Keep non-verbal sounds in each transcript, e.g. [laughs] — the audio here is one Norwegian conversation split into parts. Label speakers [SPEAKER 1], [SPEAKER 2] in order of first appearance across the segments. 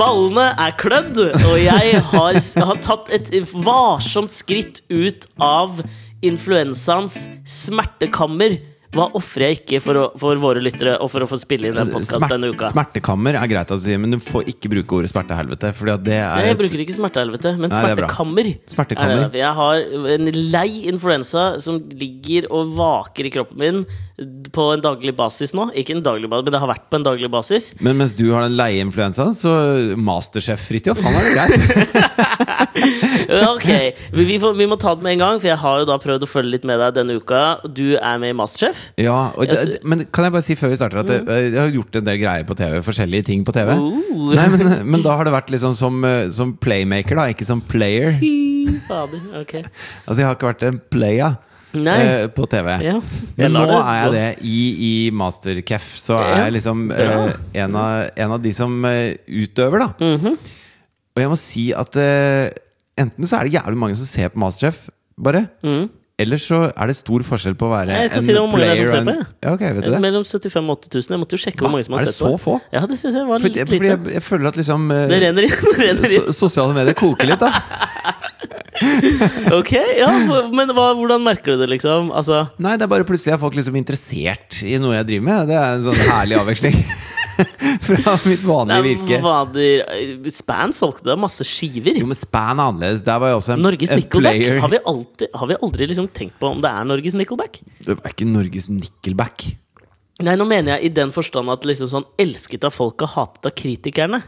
[SPEAKER 1] Ballene er klødd, og jeg har, har tatt et varsomt skritt ut av influensaens smertekammer. Hva ofrer jeg ikke for, å, for våre lyttere og for å få spille inn en podkast
[SPEAKER 2] Smert-
[SPEAKER 1] denne uka?
[SPEAKER 2] Smertekammer er greit å si, men du får ikke bruke ordet smertehelvete. Fordi at det er
[SPEAKER 1] Jeg
[SPEAKER 2] et-
[SPEAKER 1] bruker ikke smertehelvete, men
[SPEAKER 2] Nei, det er bra.
[SPEAKER 1] smertekammer.
[SPEAKER 2] Smertekammer.
[SPEAKER 1] er det. Jeg har en lei influensa som ligger og vaker i kroppen min på en daglig basis nå. Ikke en daglig basis, men det har vært på en daglig basis.
[SPEAKER 2] Men mens du har den leie influensaen, så Masterchef Fridtjof, han er det
[SPEAKER 1] [laughs]
[SPEAKER 2] greit.
[SPEAKER 1] Ok, vi, vi, får, vi må ta det med en gang, for jeg har jo da prøvd å følge litt med deg denne uka. Du er med i Masterchef.
[SPEAKER 2] Ja, og
[SPEAKER 1] Jeg Mm.
[SPEAKER 2] det, men kan jeg bare si før vi starter at det, jeg har gjort en del greier på TV, forskjellige ting på TV.
[SPEAKER 1] Oh.
[SPEAKER 2] Nei, men, men da har det vært liksom som, eh, som playmaker, da, ikke som player.
[SPEAKER 1] Fy fader. Ok.
[SPEAKER 2] Altså, jeg har ikke vært en playa
[SPEAKER 1] Nei.
[SPEAKER 2] eh, på TV.
[SPEAKER 1] Ja. Jeg
[SPEAKER 2] Men nå
[SPEAKER 1] lar det
[SPEAKER 2] er jeg
[SPEAKER 1] gå.
[SPEAKER 2] det. I, i Mastercaf så er
[SPEAKER 1] Ja,
[SPEAKER 2] jeg liksom
[SPEAKER 1] bra.
[SPEAKER 2] eh, en, av, en av de som eh, utøver, da.
[SPEAKER 1] Mhm.
[SPEAKER 2] Og jeg må si at eh, enten så er det jævlig mange som ser på Masterchef, bare. Eller så er det stor forskjell på å være
[SPEAKER 1] Mhm. Jeg kan
[SPEAKER 2] en
[SPEAKER 1] si det om hvor mange det er
[SPEAKER 2] player
[SPEAKER 1] som ser
[SPEAKER 2] og en-
[SPEAKER 1] på, jeg.
[SPEAKER 2] Ja, ok, vet du det?
[SPEAKER 1] Mellom 75 og 80 000. Jeg måtte jo sjekke
[SPEAKER 2] Hva?
[SPEAKER 1] hvor mange som har
[SPEAKER 2] Er det
[SPEAKER 1] sett på.
[SPEAKER 2] så få?
[SPEAKER 1] Ja, det synes jeg var
[SPEAKER 2] Fordi,
[SPEAKER 1] litt
[SPEAKER 2] fordi
[SPEAKER 1] lite.
[SPEAKER 2] jeg, jeg føler at liksom eh,
[SPEAKER 1] Det renner inn. Det renner
[SPEAKER 2] [laughs]
[SPEAKER 1] inn.
[SPEAKER 2] so Sosiale medier koker litt, da. [laughs]
[SPEAKER 1] Ok, ja, for- Men hva, hvordan merker du det, liksom? Altså,
[SPEAKER 2] Nei, det er bare plutselig er folk liksom interessert i noe jeg driver med. Det er en sånn herlig avveksling [laughs] fra mitt vanlige virke.
[SPEAKER 1] vader Span solgte da masse skiver.
[SPEAKER 2] Jo, men span er annerledes. Der var jeg også en,
[SPEAKER 1] Norges
[SPEAKER 2] en
[SPEAKER 1] Nickelback.
[SPEAKER 2] player.
[SPEAKER 1] Har vi, alltid, har vi aldri liksom tenkt på om det er Norges Nickelback?
[SPEAKER 2] Det er ikke Norges Nickelback.
[SPEAKER 1] Nei, nå mener jeg i den forstand at liksom sånn elsket av folk og hatet av kritikerne.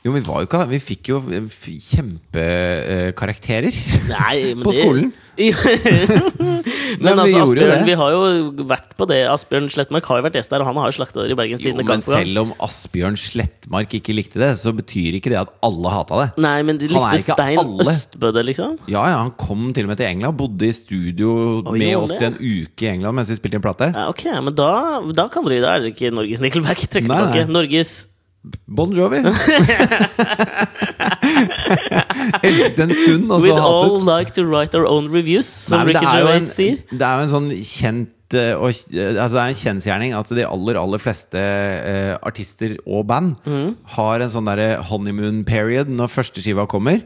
[SPEAKER 2] Jo, men vi var jo ikke Vi fikk jo eh,
[SPEAKER 1] [laughs]
[SPEAKER 2] kjempekarakterer.
[SPEAKER 1] Nei, men
[SPEAKER 2] På
[SPEAKER 1] [laughs]
[SPEAKER 2] skolen?
[SPEAKER 1] Det...
[SPEAKER 2] Nei,
[SPEAKER 1] men
[SPEAKER 2] men
[SPEAKER 1] altså,
[SPEAKER 2] vi gjorde jo
[SPEAKER 1] Asbjørn,
[SPEAKER 2] det.
[SPEAKER 1] vi har jo vært på det. Asbjørn Slettmark har jo vært gjest der, og han har jo slakta dere i Bergens
[SPEAKER 2] Jo,
[SPEAKER 1] Tidende.
[SPEAKER 2] men
[SPEAKER 1] gang på gang.
[SPEAKER 2] selv om Asbjørn Slettmark ikke likte det, så betyr ikke det at alle hata det.
[SPEAKER 1] Nei, men de
[SPEAKER 2] Han er
[SPEAKER 1] likte
[SPEAKER 2] ikke
[SPEAKER 1] Stein
[SPEAKER 2] alle.
[SPEAKER 1] Østbø det, liksom?
[SPEAKER 2] Ja, ja, Han kom til og med til England, bodde i studio
[SPEAKER 1] Oi,
[SPEAKER 2] med
[SPEAKER 1] gjorde
[SPEAKER 2] oss i
[SPEAKER 1] han
[SPEAKER 2] en uke i England mens vi spilte inn plate.
[SPEAKER 1] Ja, ok, men da, da kan dere Da er det ikke Norges Nickelback. Trekk
[SPEAKER 2] Nei,
[SPEAKER 1] tilbake.
[SPEAKER 2] nei.
[SPEAKER 1] Norges
[SPEAKER 2] Bon
[SPEAKER 1] [laughs]
[SPEAKER 2] Jovi! [laughs] Elsket en stund, og
[SPEAKER 1] We'd
[SPEAKER 2] så hatet.
[SPEAKER 1] all like to write our own reviews, som
[SPEAKER 2] Altså, Nei, men
[SPEAKER 1] Ricky
[SPEAKER 2] det er jo
[SPEAKER 1] Gervais
[SPEAKER 2] en-
[SPEAKER 1] sier.
[SPEAKER 2] Det er jo en sånn kjent eh, og, eh, altså Det er en kjensgjerning at de aller aller fleste eh, artister og band
[SPEAKER 1] Mhm.
[SPEAKER 2] har en sånn derre honeymoon period når første skiva kommer.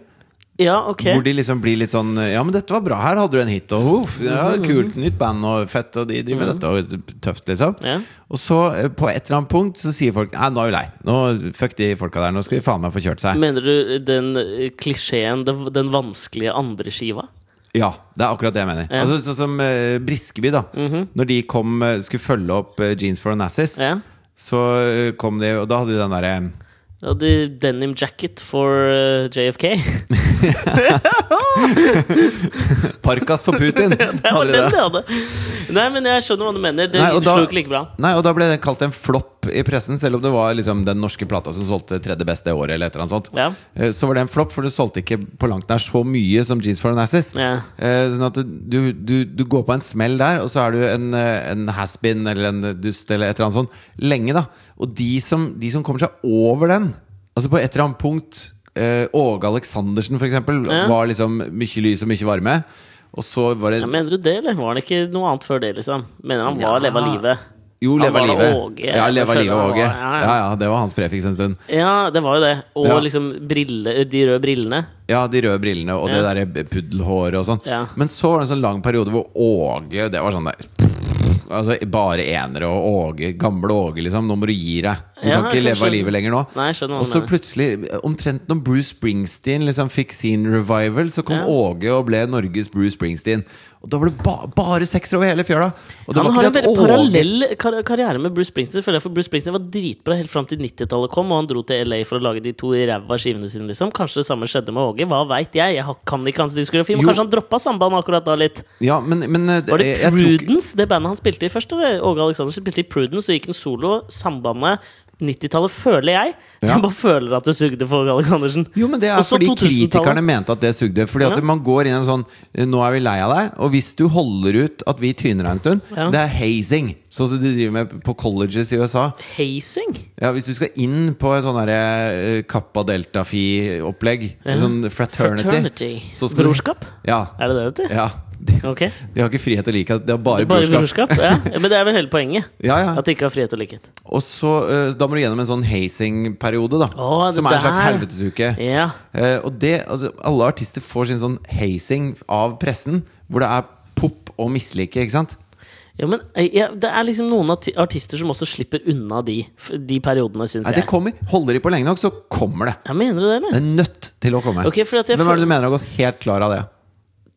[SPEAKER 1] Ja, ok.
[SPEAKER 2] Hvor de liksom blir litt sånn Ja, men dette var bra, her hadde du en hit, og uff, ja,
[SPEAKER 1] Mhm.
[SPEAKER 2] kult, nytt band, og fett, og de driver med dette, og tøft, liksom.
[SPEAKER 1] Ja.
[SPEAKER 2] Og så, eh, på et eller annet punkt, så sier folk Nei, nå er vi lei. Nå, fuck de folka der, nå skal de faen meg få kjørt seg.
[SPEAKER 1] Mener du den eh, klisjeen, den, den vanskelige andre skiva?
[SPEAKER 2] Ja, det er akkurat det jeg mener. Altså, Sånn som eh, Briskeby, da. Når de kom, eh, skulle følge opp eh, Jeans for Onassis,
[SPEAKER 1] Mhm. Ja.
[SPEAKER 2] så eh, kom de, og da hadde de den eh, derre
[SPEAKER 1] Og the denim jacket for eh,
[SPEAKER 2] [laughs]
[SPEAKER 1] JFK.
[SPEAKER 2] Parkas for
[SPEAKER 1] [laughs]
[SPEAKER 2] Putin!
[SPEAKER 1] Det var
[SPEAKER 2] Hadde de
[SPEAKER 1] den
[SPEAKER 2] det.
[SPEAKER 1] de hadde. Nei, men jeg skjønner hva du mener. Det
[SPEAKER 2] Nei, og da-
[SPEAKER 1] slo ikke like bra.
[SPEAKER 2] Nei, og da ble det kalt en flopp i pressen, selv om det var liksom den norske plata som solgte tredje best det året, eller et eller annet sånt.
[SPEAKER 1] Ja.
[SPEAKER 2] Eh, Så var det en flopp, for det solgte ikke på langt nær så mye som Jeans for Onassis.
[SPEAKER 1] Ja.
[SPEAKER 2] Eh, Sånn at du, du, du går på en smell der, og så er du en, eh, en has-been eller en dust eller et eller annet sånt lenge, da. Og de som, de som kommer seg over den, altså på et eller annet punkt eh, Åge Aleksandersen, for eksempel,
[SPEAKER 1] Ja.
[SPEAKER 2] var liksom mye lys og mye varme. Og så var det
[SPEAKER 1] Ja, mener du det, eller var han ikke noe annet før det, liksom? Mener han var
[SPEAKER 2] Ja.
[SPEAKER 1] leva livet?
[SPEAKER 2] Jo,
[SPEAKER 1] Han
[SPEAKER 2] Leva
[SPEAKER 1] var da
[SPEAKER 2] livet.
[SPEAKER 1] Åge,
[SPEAKER 2] ja,
[SPEAKER 1] jeg
[SPEAKER 2] Leva
[SPEAKER 1] føler
[SPEAKER 2] livet
[SPEAKER 1] han
[SPEAKER 2] Åge.
[SPEAKER 1] var- ja, ja.
[SPEAKER 2] Ja, ja, det var hans prefiks en stund.
[SPEAKER 1] Ja, det var jo det. Og
[SPEAKER 2] Ja.
[SPEAKER 1] liksom brille, de røde brillene.
[SPEAKER 2] Ja, de røde brillene og
[SPEAKER 1] Ja.
[SPEAKER 2] det der puddelhåret og sånn.
[SPEAKER 1] Ja.
[SPEAKER 2] Men så var det en sånn lang periode hvor Åge Det var sånn der pff, Altså Bare enere og Åge, gamle Åge, liksom. Nå må du gi deg. Du
[SPEAKER 1] Ja,
[SPEAKER 2] kan ikke
[SPEAKER 1] jeg
[SPEAKER 2] leve
[SPEAKER 1] skjønner.
[SPEAKER 2] av livet lenger nå.
[SPEAKER 1] Nei, jeg skjønner hva
[SPEAKER 2] og
[SPEAKER 1] du
[SPEAKER 2] så
[SPEAKER 1] mener.
[SPEAKER 2] plutselig, omtrent når Bruce Springsteen liksom fikk sin revival, så kom
[SPEAKER 1] Ja.
[SPEAKER 2] Åge og ble Norges Bruce Springsteen. Og da var det ba bare sekser over hele fjøla! Og det
[SPEAKER 1] Han
[SPEAKER 2] var
[SPEAKER 1] har
[SPEAKER 2] ikke
[SPEAKER 1] en
[SPEAKER 2] det at
[SPEAKER 1] veldig
[SPEAKER 2] Åge-
[SPEAKER 1] parallell kar karriere med Bruce Springsteen. Føler jeg, for Bruce Springsteen var dritbra helt fram til 90-tallet kom, og han dro til LA for å lage de to i ræva skivene sine. liksom Kanskje det samme skjedde med Åge? Hva veit jeg? Jeg har- kan ikke hans diskografi. Men
[SPEAKER 2] Jo.
[SPEAKER 1] kanskje han droppa sambandet akkurat da litt?
[SPEAKER 2] Ja, men, men eh,
[SPEAKER 1] Var det
[SPEAKER 2] jeg- jeg tror ikke-
[SPEAKER 1] Prudence, det bandet han spilte i først? Eller? Åge Aleksandersen spilte i Prudence og gikk en solo. Sambandet 90-tallet føler jeg. [laughs]
[SPEAKER 2] Ja.
[SPEAKER 1] Jeg bare føler at det sugde for Åge Aleksandersen.
[SPEAKER 2] Jo, men det er
[SPEAKER 1] Også
[SPEAKER 2] fordi
[SPEAKER 1] 2000-tallet.
[SPEAKER 2] kritikerne mente at det sugde. Fordi at
[SPEAKER 1] Ja.
[SPEAKER 2] man går inn i en sånn eh, Nå er vi lei av deg, og hvis du holder ut at vi tyner deg en stund
[SPEAKER 1] Ja.
[SPEAKER 2] Det er hazing, sånn som de driver med på colleges i USA.
[SPEAKER 1] Hazing?
[SPEAKER 2] Ja, Hvis du skal inn på et sånn derre eh, Kappa Delta Fi-opplegg, En sånn fraternity,
[SPEAKER 1] Fraternity.
[SPEAKER 2] så skal du-
[SPEAKER 1] Brorskap?
[SPEAKER 2] Ja.
[SPEAKER 1] Er det det det heter?
[SPEAKER 2] ja. De,
[SPEAKER 1] Ok?
[SPEAKER 2] de har ikke frihet og likhet, de har bare,
[SPEAKER 1] Bare
[SPEAKER 2] brorskap.
[SPEAKER 1] brorskap? Ja. ja, Men det er vel hele
[SPEAKER 2] [laughs]
[SPEAKER 1] poenget?
[SPEAKER 2] Ja, ja.
[SPEAKER 1] At de ikke har frihet og likhet.
[SPEAKER 2] Og så, eh, da må du gjennom en sånn hazing-periode, da.
[SPEAKER 1] Å, det
[SPEAKER 2] som er en slags
[SPEAKER 1] der.
[SPEAKER 2] helvetesuke.
[SPEAKER 1] Ja.
[SPEAKER 2] Eh, og det, altså, alle artister får sin sånn hazing av pressen, hvor det er pop og mislike, ikke sant?
[SPEAKER 1] ja men eh, ja, det er liksom noen arti- artister som også slipper unna de, f- de periodene, syns
[SPEAKER 2] Nei, det
[SPEAKER 1] jeg.
[SPEAKER 2] kommer. Holder de på lenge nok, så kommer det.
[SPEAKER 1] Ja, mener du det,
[SPEAKER 2] Det
[SPEAKER 1] eller?
[SPEAKER 2] er nødt til å komme.
[SPEAKER 1] Ok, fordi at jeg
[SPEAKER 2] Hvem er
[SPEAKER 1] får-
[SPEAKER 2] det du mener har gått helt klar av det?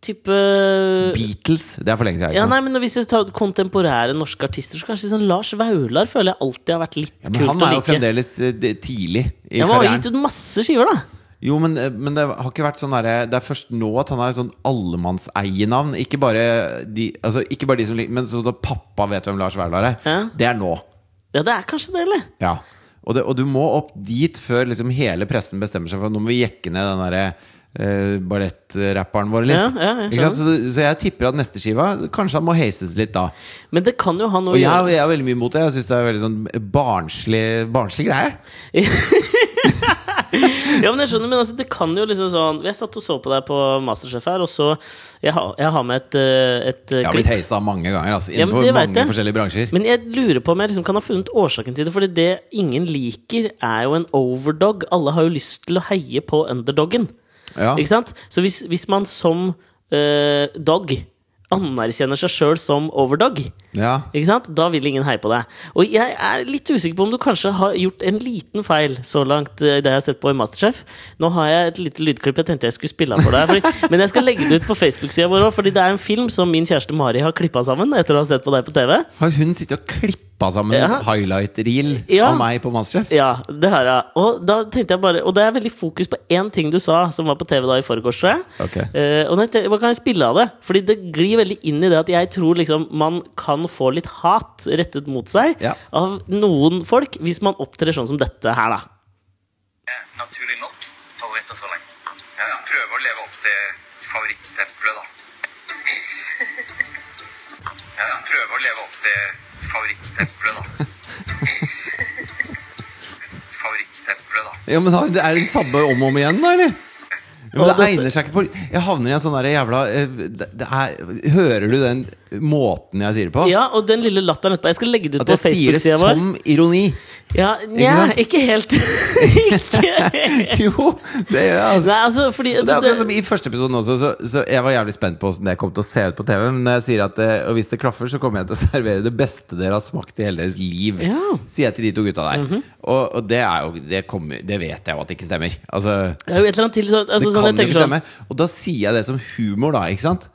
[SPEAKER 1] Type eh,
[SPEAKER 2] Beatles? Det er for lenge siden. ikke
[SPEAKER 1] ja,
[SPEAKER 2] sant?
[SPEAKER 1] nei, men Hvis vi tar kontemporære norske artister, så kanskje sånn Lars Vaular føler jeg alltid har vært litt
[SPEAKER 2] Ja, men
[SPEAKER 1] kult å
[SPEAKER 2] han er jo
[SPEAKER 1] like.
[SPEAKER 2] fremdeles eh, det- tidlig i
[SPEAKER 1] Ja, men han har gitt
[SPEAKER 2] karrieren.
[SPEAKER 1] ut masse skiver, da.
[SPEAKER 2] Jo, men, eh, men det har ikke vært sånn derre Det er først nå at han er sånn allemannseienavn. Ikke bare de, altså, ikke bare de som liker Men sånn at pappa vet hvem Lars Vaular er.
[SPEAKER 1] Ja.
[SPEAKER 2] Det er nå.
[SPEAKER 1] Ja, det er kanskje det, eller?
[SPEAKER 2] Ja. Og, det, og du må opp dit før liksom hele pressen bestemmer seg for at nå må vi jekke ned den derre eh, ballettrapperen vår litt.
[SPEAKER 1] Ja, ja, jeg
[SPEAKER 2] ikke sant? Så, så jeg tipper at neste skiva Kanskje han må heises litt da.
[SPEAKER 1] Men det kan jo ha noe å
[SPEAKER 2] Og jeg,
[SPEAKER 1] gjøre
[SPEAKER 2] jeg er veldig mye imot det. Jeg syns det er veldig sånn barnslig, barnslig greie.
[SPEAKER 1] Ja, men jeg skjønner, men altså, det kan jo liksom sånn Jeg satt og så på deg på Masterchef her, og så Jeg har, jeg har med et, eh, et eh,
[SPEAKER 2] Jeg har blitt
[SPEAKER 1] klipp.
[SPEAKER 2] heisa mange ganger altså,
[SPEAKER 1] Ja, men
[SPEAKER 2] innenfor
[SPEAKER 1] det vet
[SPEAKER 2] mange
[SPEAKER 1] jeg.
[SPEAKER 2] forskjellige bransjer.
[SPEAKER 1] Men jeg lurer på om jeg liksom kan ha funnet årsaken til det. Fordi det ingen liker, er jo en overdog. Alle har jo lyst til å heie på underdoggen.
[SPEAKER 2] Ja.
[SPEAKER 1] Ikke sant? Så hvis, hvis man som eh, dog anerkjenner seg sjøl som overdog,
[SPEAKER 2] Ja.
[SPEAKER 1] ikke sant? da vil ingen heie på deg. Og jeg er litt usikker på om du kanskje har gjort en liten feil så langt eh, i det jeg har sett på i Masterchef. Nå har jeg et lite lydklipp jeg tenkte jeg skulle spille av for deg. Fordi, men jeg skal legge det ut på Facebook-sida vår òg, fordi det er en film som min kjæreste Mari har klippa sammen etter å ha sett på deg på TV.
[SPEAKER 2] Har hun sittet og klippa sammen
[SPEAKER 1] Ja.
[SPEAKER 2] highlight-reel
[SPEAKER 1] Ja.
[SPEAKER 2] av meg på Masterchef?
[SPEAKER 1] Ja, det har jeg. Og da tenkte jeg bare Og det er veldig fokus på én ting du sa, som var på TV da i forgårs, tror jeg.
[SPEAKER 2] Ok.
[SPEAKER 1] Eh, og da tenkte jeg, hva kan jeg spille av det? Fordi det glir veldig inn i det at jeg tror liksom man kan få litt hat rettet mot seg
[SPEAKER 2] Ja.
[SPEAKER 1] av noen folk hvis man opptrer sånn som dette her, da.
[SPEAKER 3] Eh, naturlig nok favoritter så langt. Jeg prøver å leve opp til favorittstempelet, da. Jeg prøver å leve opp til favorittstempelet, da. Favorittstempelet, da.
[SPEAKER 2] Ja, men da, det er det samme om og om igjen, da, eller? Ja, men
[SPEAKER 1] Og
[SPEAKER 2] det
[SPEAKER 1] dette-
[SPEAKER 2] egner seg ikke på Jeg havner i en sånn der jævla eh, det det er, Hører du den måten jeg sier det på?
[SPEAKER 1] Ja, og den lille latteren etterpå. Jeg skal legge det ut
[SPEAKER 2] At
[SPEAKER 1] på
[SPEAKER 2] jeg sier det
[SPEAKER 1] Facebook-sida vår.
[SPEAKER 2] som ironi?
[SPEAKER 1] Ja, nja,
[SPEAKER 2] sant?
[SPEAKER 1] ikke helt. [laughs] ikke.
[SPEAKER 2] Jo, det gjør jeg, altså.
[SPEAKER 1] Nei, altså, fordi
[SPEAKER 2] Det er akkurat som I første episoden også, så, så jeg var jævlig spent på hvordan det kom til å se ut på TV. Men når jeg sier at eh, og hvis det klaffer, så kommer jeg til å [laughs] servere det beste dere har smakt i hele deres liv.
[SPEAKER 1] Ja.
[SPEAKER 2] Sier jeg til de to gutta der. Og, og det er jo det, kommer, det vet jeg jo at det ikke stemmer. Altså,
[SPEAKER 1] Det er jo et eller annet til sånn, altså,
[SPEAKER 2] det
[SPEAKER 1] sånn jeg
[SPEAKER 2] kan jo
[SPEAKER 1] tenker
[SPEAKER 2] ikke
[SPEAKER 1] sånn
[SPEAKER 2] stemme. Og da sier jeg det som humor, da. Ikke sant?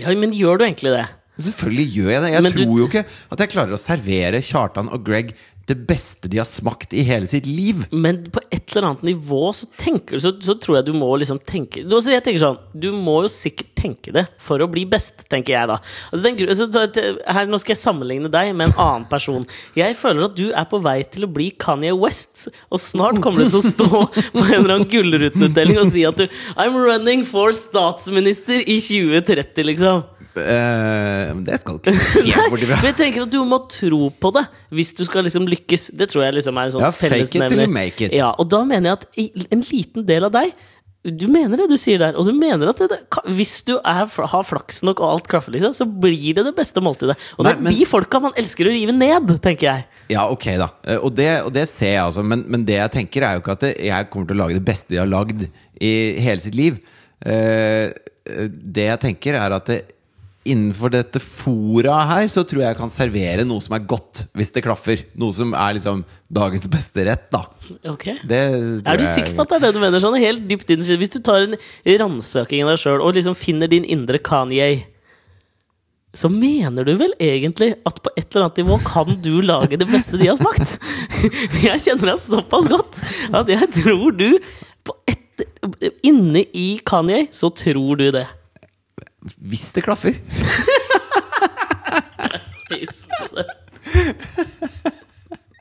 [SPEAKER 1] Ja, men gjør du egentlig det?
[SPEAKER 2] Selvfølgelig gjør jeg det. Jeg
[SPEAKER 1] Men du-
[SPEAKER 2] tror jo ikke at jeg klarer å servere Kjartan og Greg det beste de har smakt i hele sitt liv.
[SPEAKER 1] Men på et eller annet nivå så, tenker, så, så tror jeg du må liksom tenke du, altså jeg tenker sånn, du må jo sikkert tenke det for å bli best, tenker jeg da. Altså den, gru- altså, ta- ta- her, nå skal jeg sammenligne deg med en annen person. Jeg føler at du er på vei til å bli Kanye West, og snart kommer du til å stå på en eller annen gullrutenutdeling og si at du I'm running for statsminister i 2030, liksom.
[SPEAKER 2] Eh, men det skal ikke
[SPEAKER 1] [laughs]
[SPEAKER 2] helt bort ifra.
[SPEAKER 1] Men jeg tenker at du må tro på det hvis du skal liksom lykkes. Det tror jeg liksom er en sånn
[SPEAKER 2] Ja, fake it till you
[SPEAKER 1] fellesnevner.
[SPEAKER 2] make it.
[SPEAKER 1] Ja, og da mener jeg at i- en liten del av deg Du mener det du sier der, og du mener at det, det, ka- hvis du er, fl- har flaks nok og alt klaffer, liksom, så blir det det beste måltidet. Og det
[SPEAKER 2] Nei,
[SPEAKER 1] er
[SPEAKER 2] men-
[SPEAKER 1] de folka man elsker å rive ned, tenker jeg.
[SPEAKER 2] Ja, ok, da. Eh, Og det, og det ser jeg altså. Men, men det jeg tenker, er jo ikke at det- jeg kommer til å lage det beste de har lagd i hele sitt liv. Eh, eh, det jeg tenker, er at det, innenfor dette fora her, så tror jeg jeg kan servere noe som er godt, hvis det klaffer. Noe som er liksom dagens beste rett, da.
[SPEAKER 1] Ok
[SPEAKER 2] Det tror
[SPEAKER 1] Er du
[SPEAKER 2] jeg-
[SPEAKER 1] sikker på at det er det du mener? Sånn helt dypt inn Hvis du tar en ransøking av deg sjøl og liksom finner din indre Kanye, så mener du vel egentlig at på et eller annet nivå kan du lage det beste de har smakt? [laughs] Jeg kjenner deg såpass godt at jeg tror du på et, Inne i Kanye så tror du det.
[SPEAKER 2] Hvis det
[SPEAKER 1] [laughs]
[SPEAKER 2] klaffer.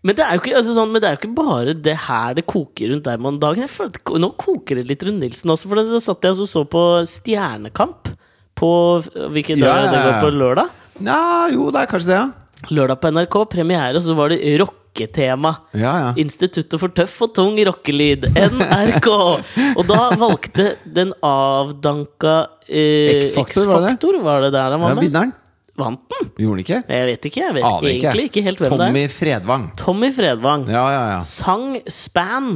[SPEAKER 1] Men det, er jo ikke, altså sånn, men det er jo ikke bare det her det koker rundt der man dagen. Jeg føler at ko- Nå koker det litt rundt Nilsen også, for da satt jeg og så på Stjernekamp. På hvilken dag
[SPEAKER 2] Ja, ja,
[SPEAKER 1] det
[SPEAKER 2] ja.
[SPEAKER 1] går på lørdag?
[SPEAKER 2] Nja, jo, det er kanskje det, ja.
[SPEAKER 1] Lørdag på NRK, premiere, og så var det rock rocketema.
[SPEAKER 2] Ja, ja.
[SPEAKER 1] Instituttet for tøff og tung rockelyd, NRK. Og da valgte den avdanka eh,
[SPEAKER 2] X-Factor, var det det?
[SPEAKER 1] X-Faktor, var det der han
[SPEAKER 2] Ja,
[SPEAKER 1] var med?
[SPEAKER 2] vinneren.
[SPEAKER 1] Vant den?
[SPEAKER 2] Gjorde han ikke?
[SPEAKER 1] Jeg vet ikke. Jeg vet
[SPEAKER 2] Aner ikke.
[SPEAKER 1] egentlig ikke helt hvem det er.
[SPEAKER 2] Tommy Fredvang.
[SPEAKER 1] Tommy Fredvang
[SPEAKER 2] Ja, ja, ja.
[SPEAKER 1] sang Span.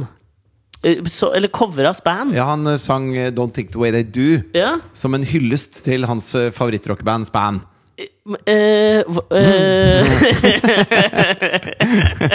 [SPEAKER 1] Eh, Så, eller covra Span.
[SPEAKER 2] Ja, han eh, sang eh, Don't Think The Way They Do
[SPEAKER 1] Ja.
[SPEAKER 2] som en hyllest til hans eh, favorittrockband Span.
[SPEAKER 1] Eh, hva- eh,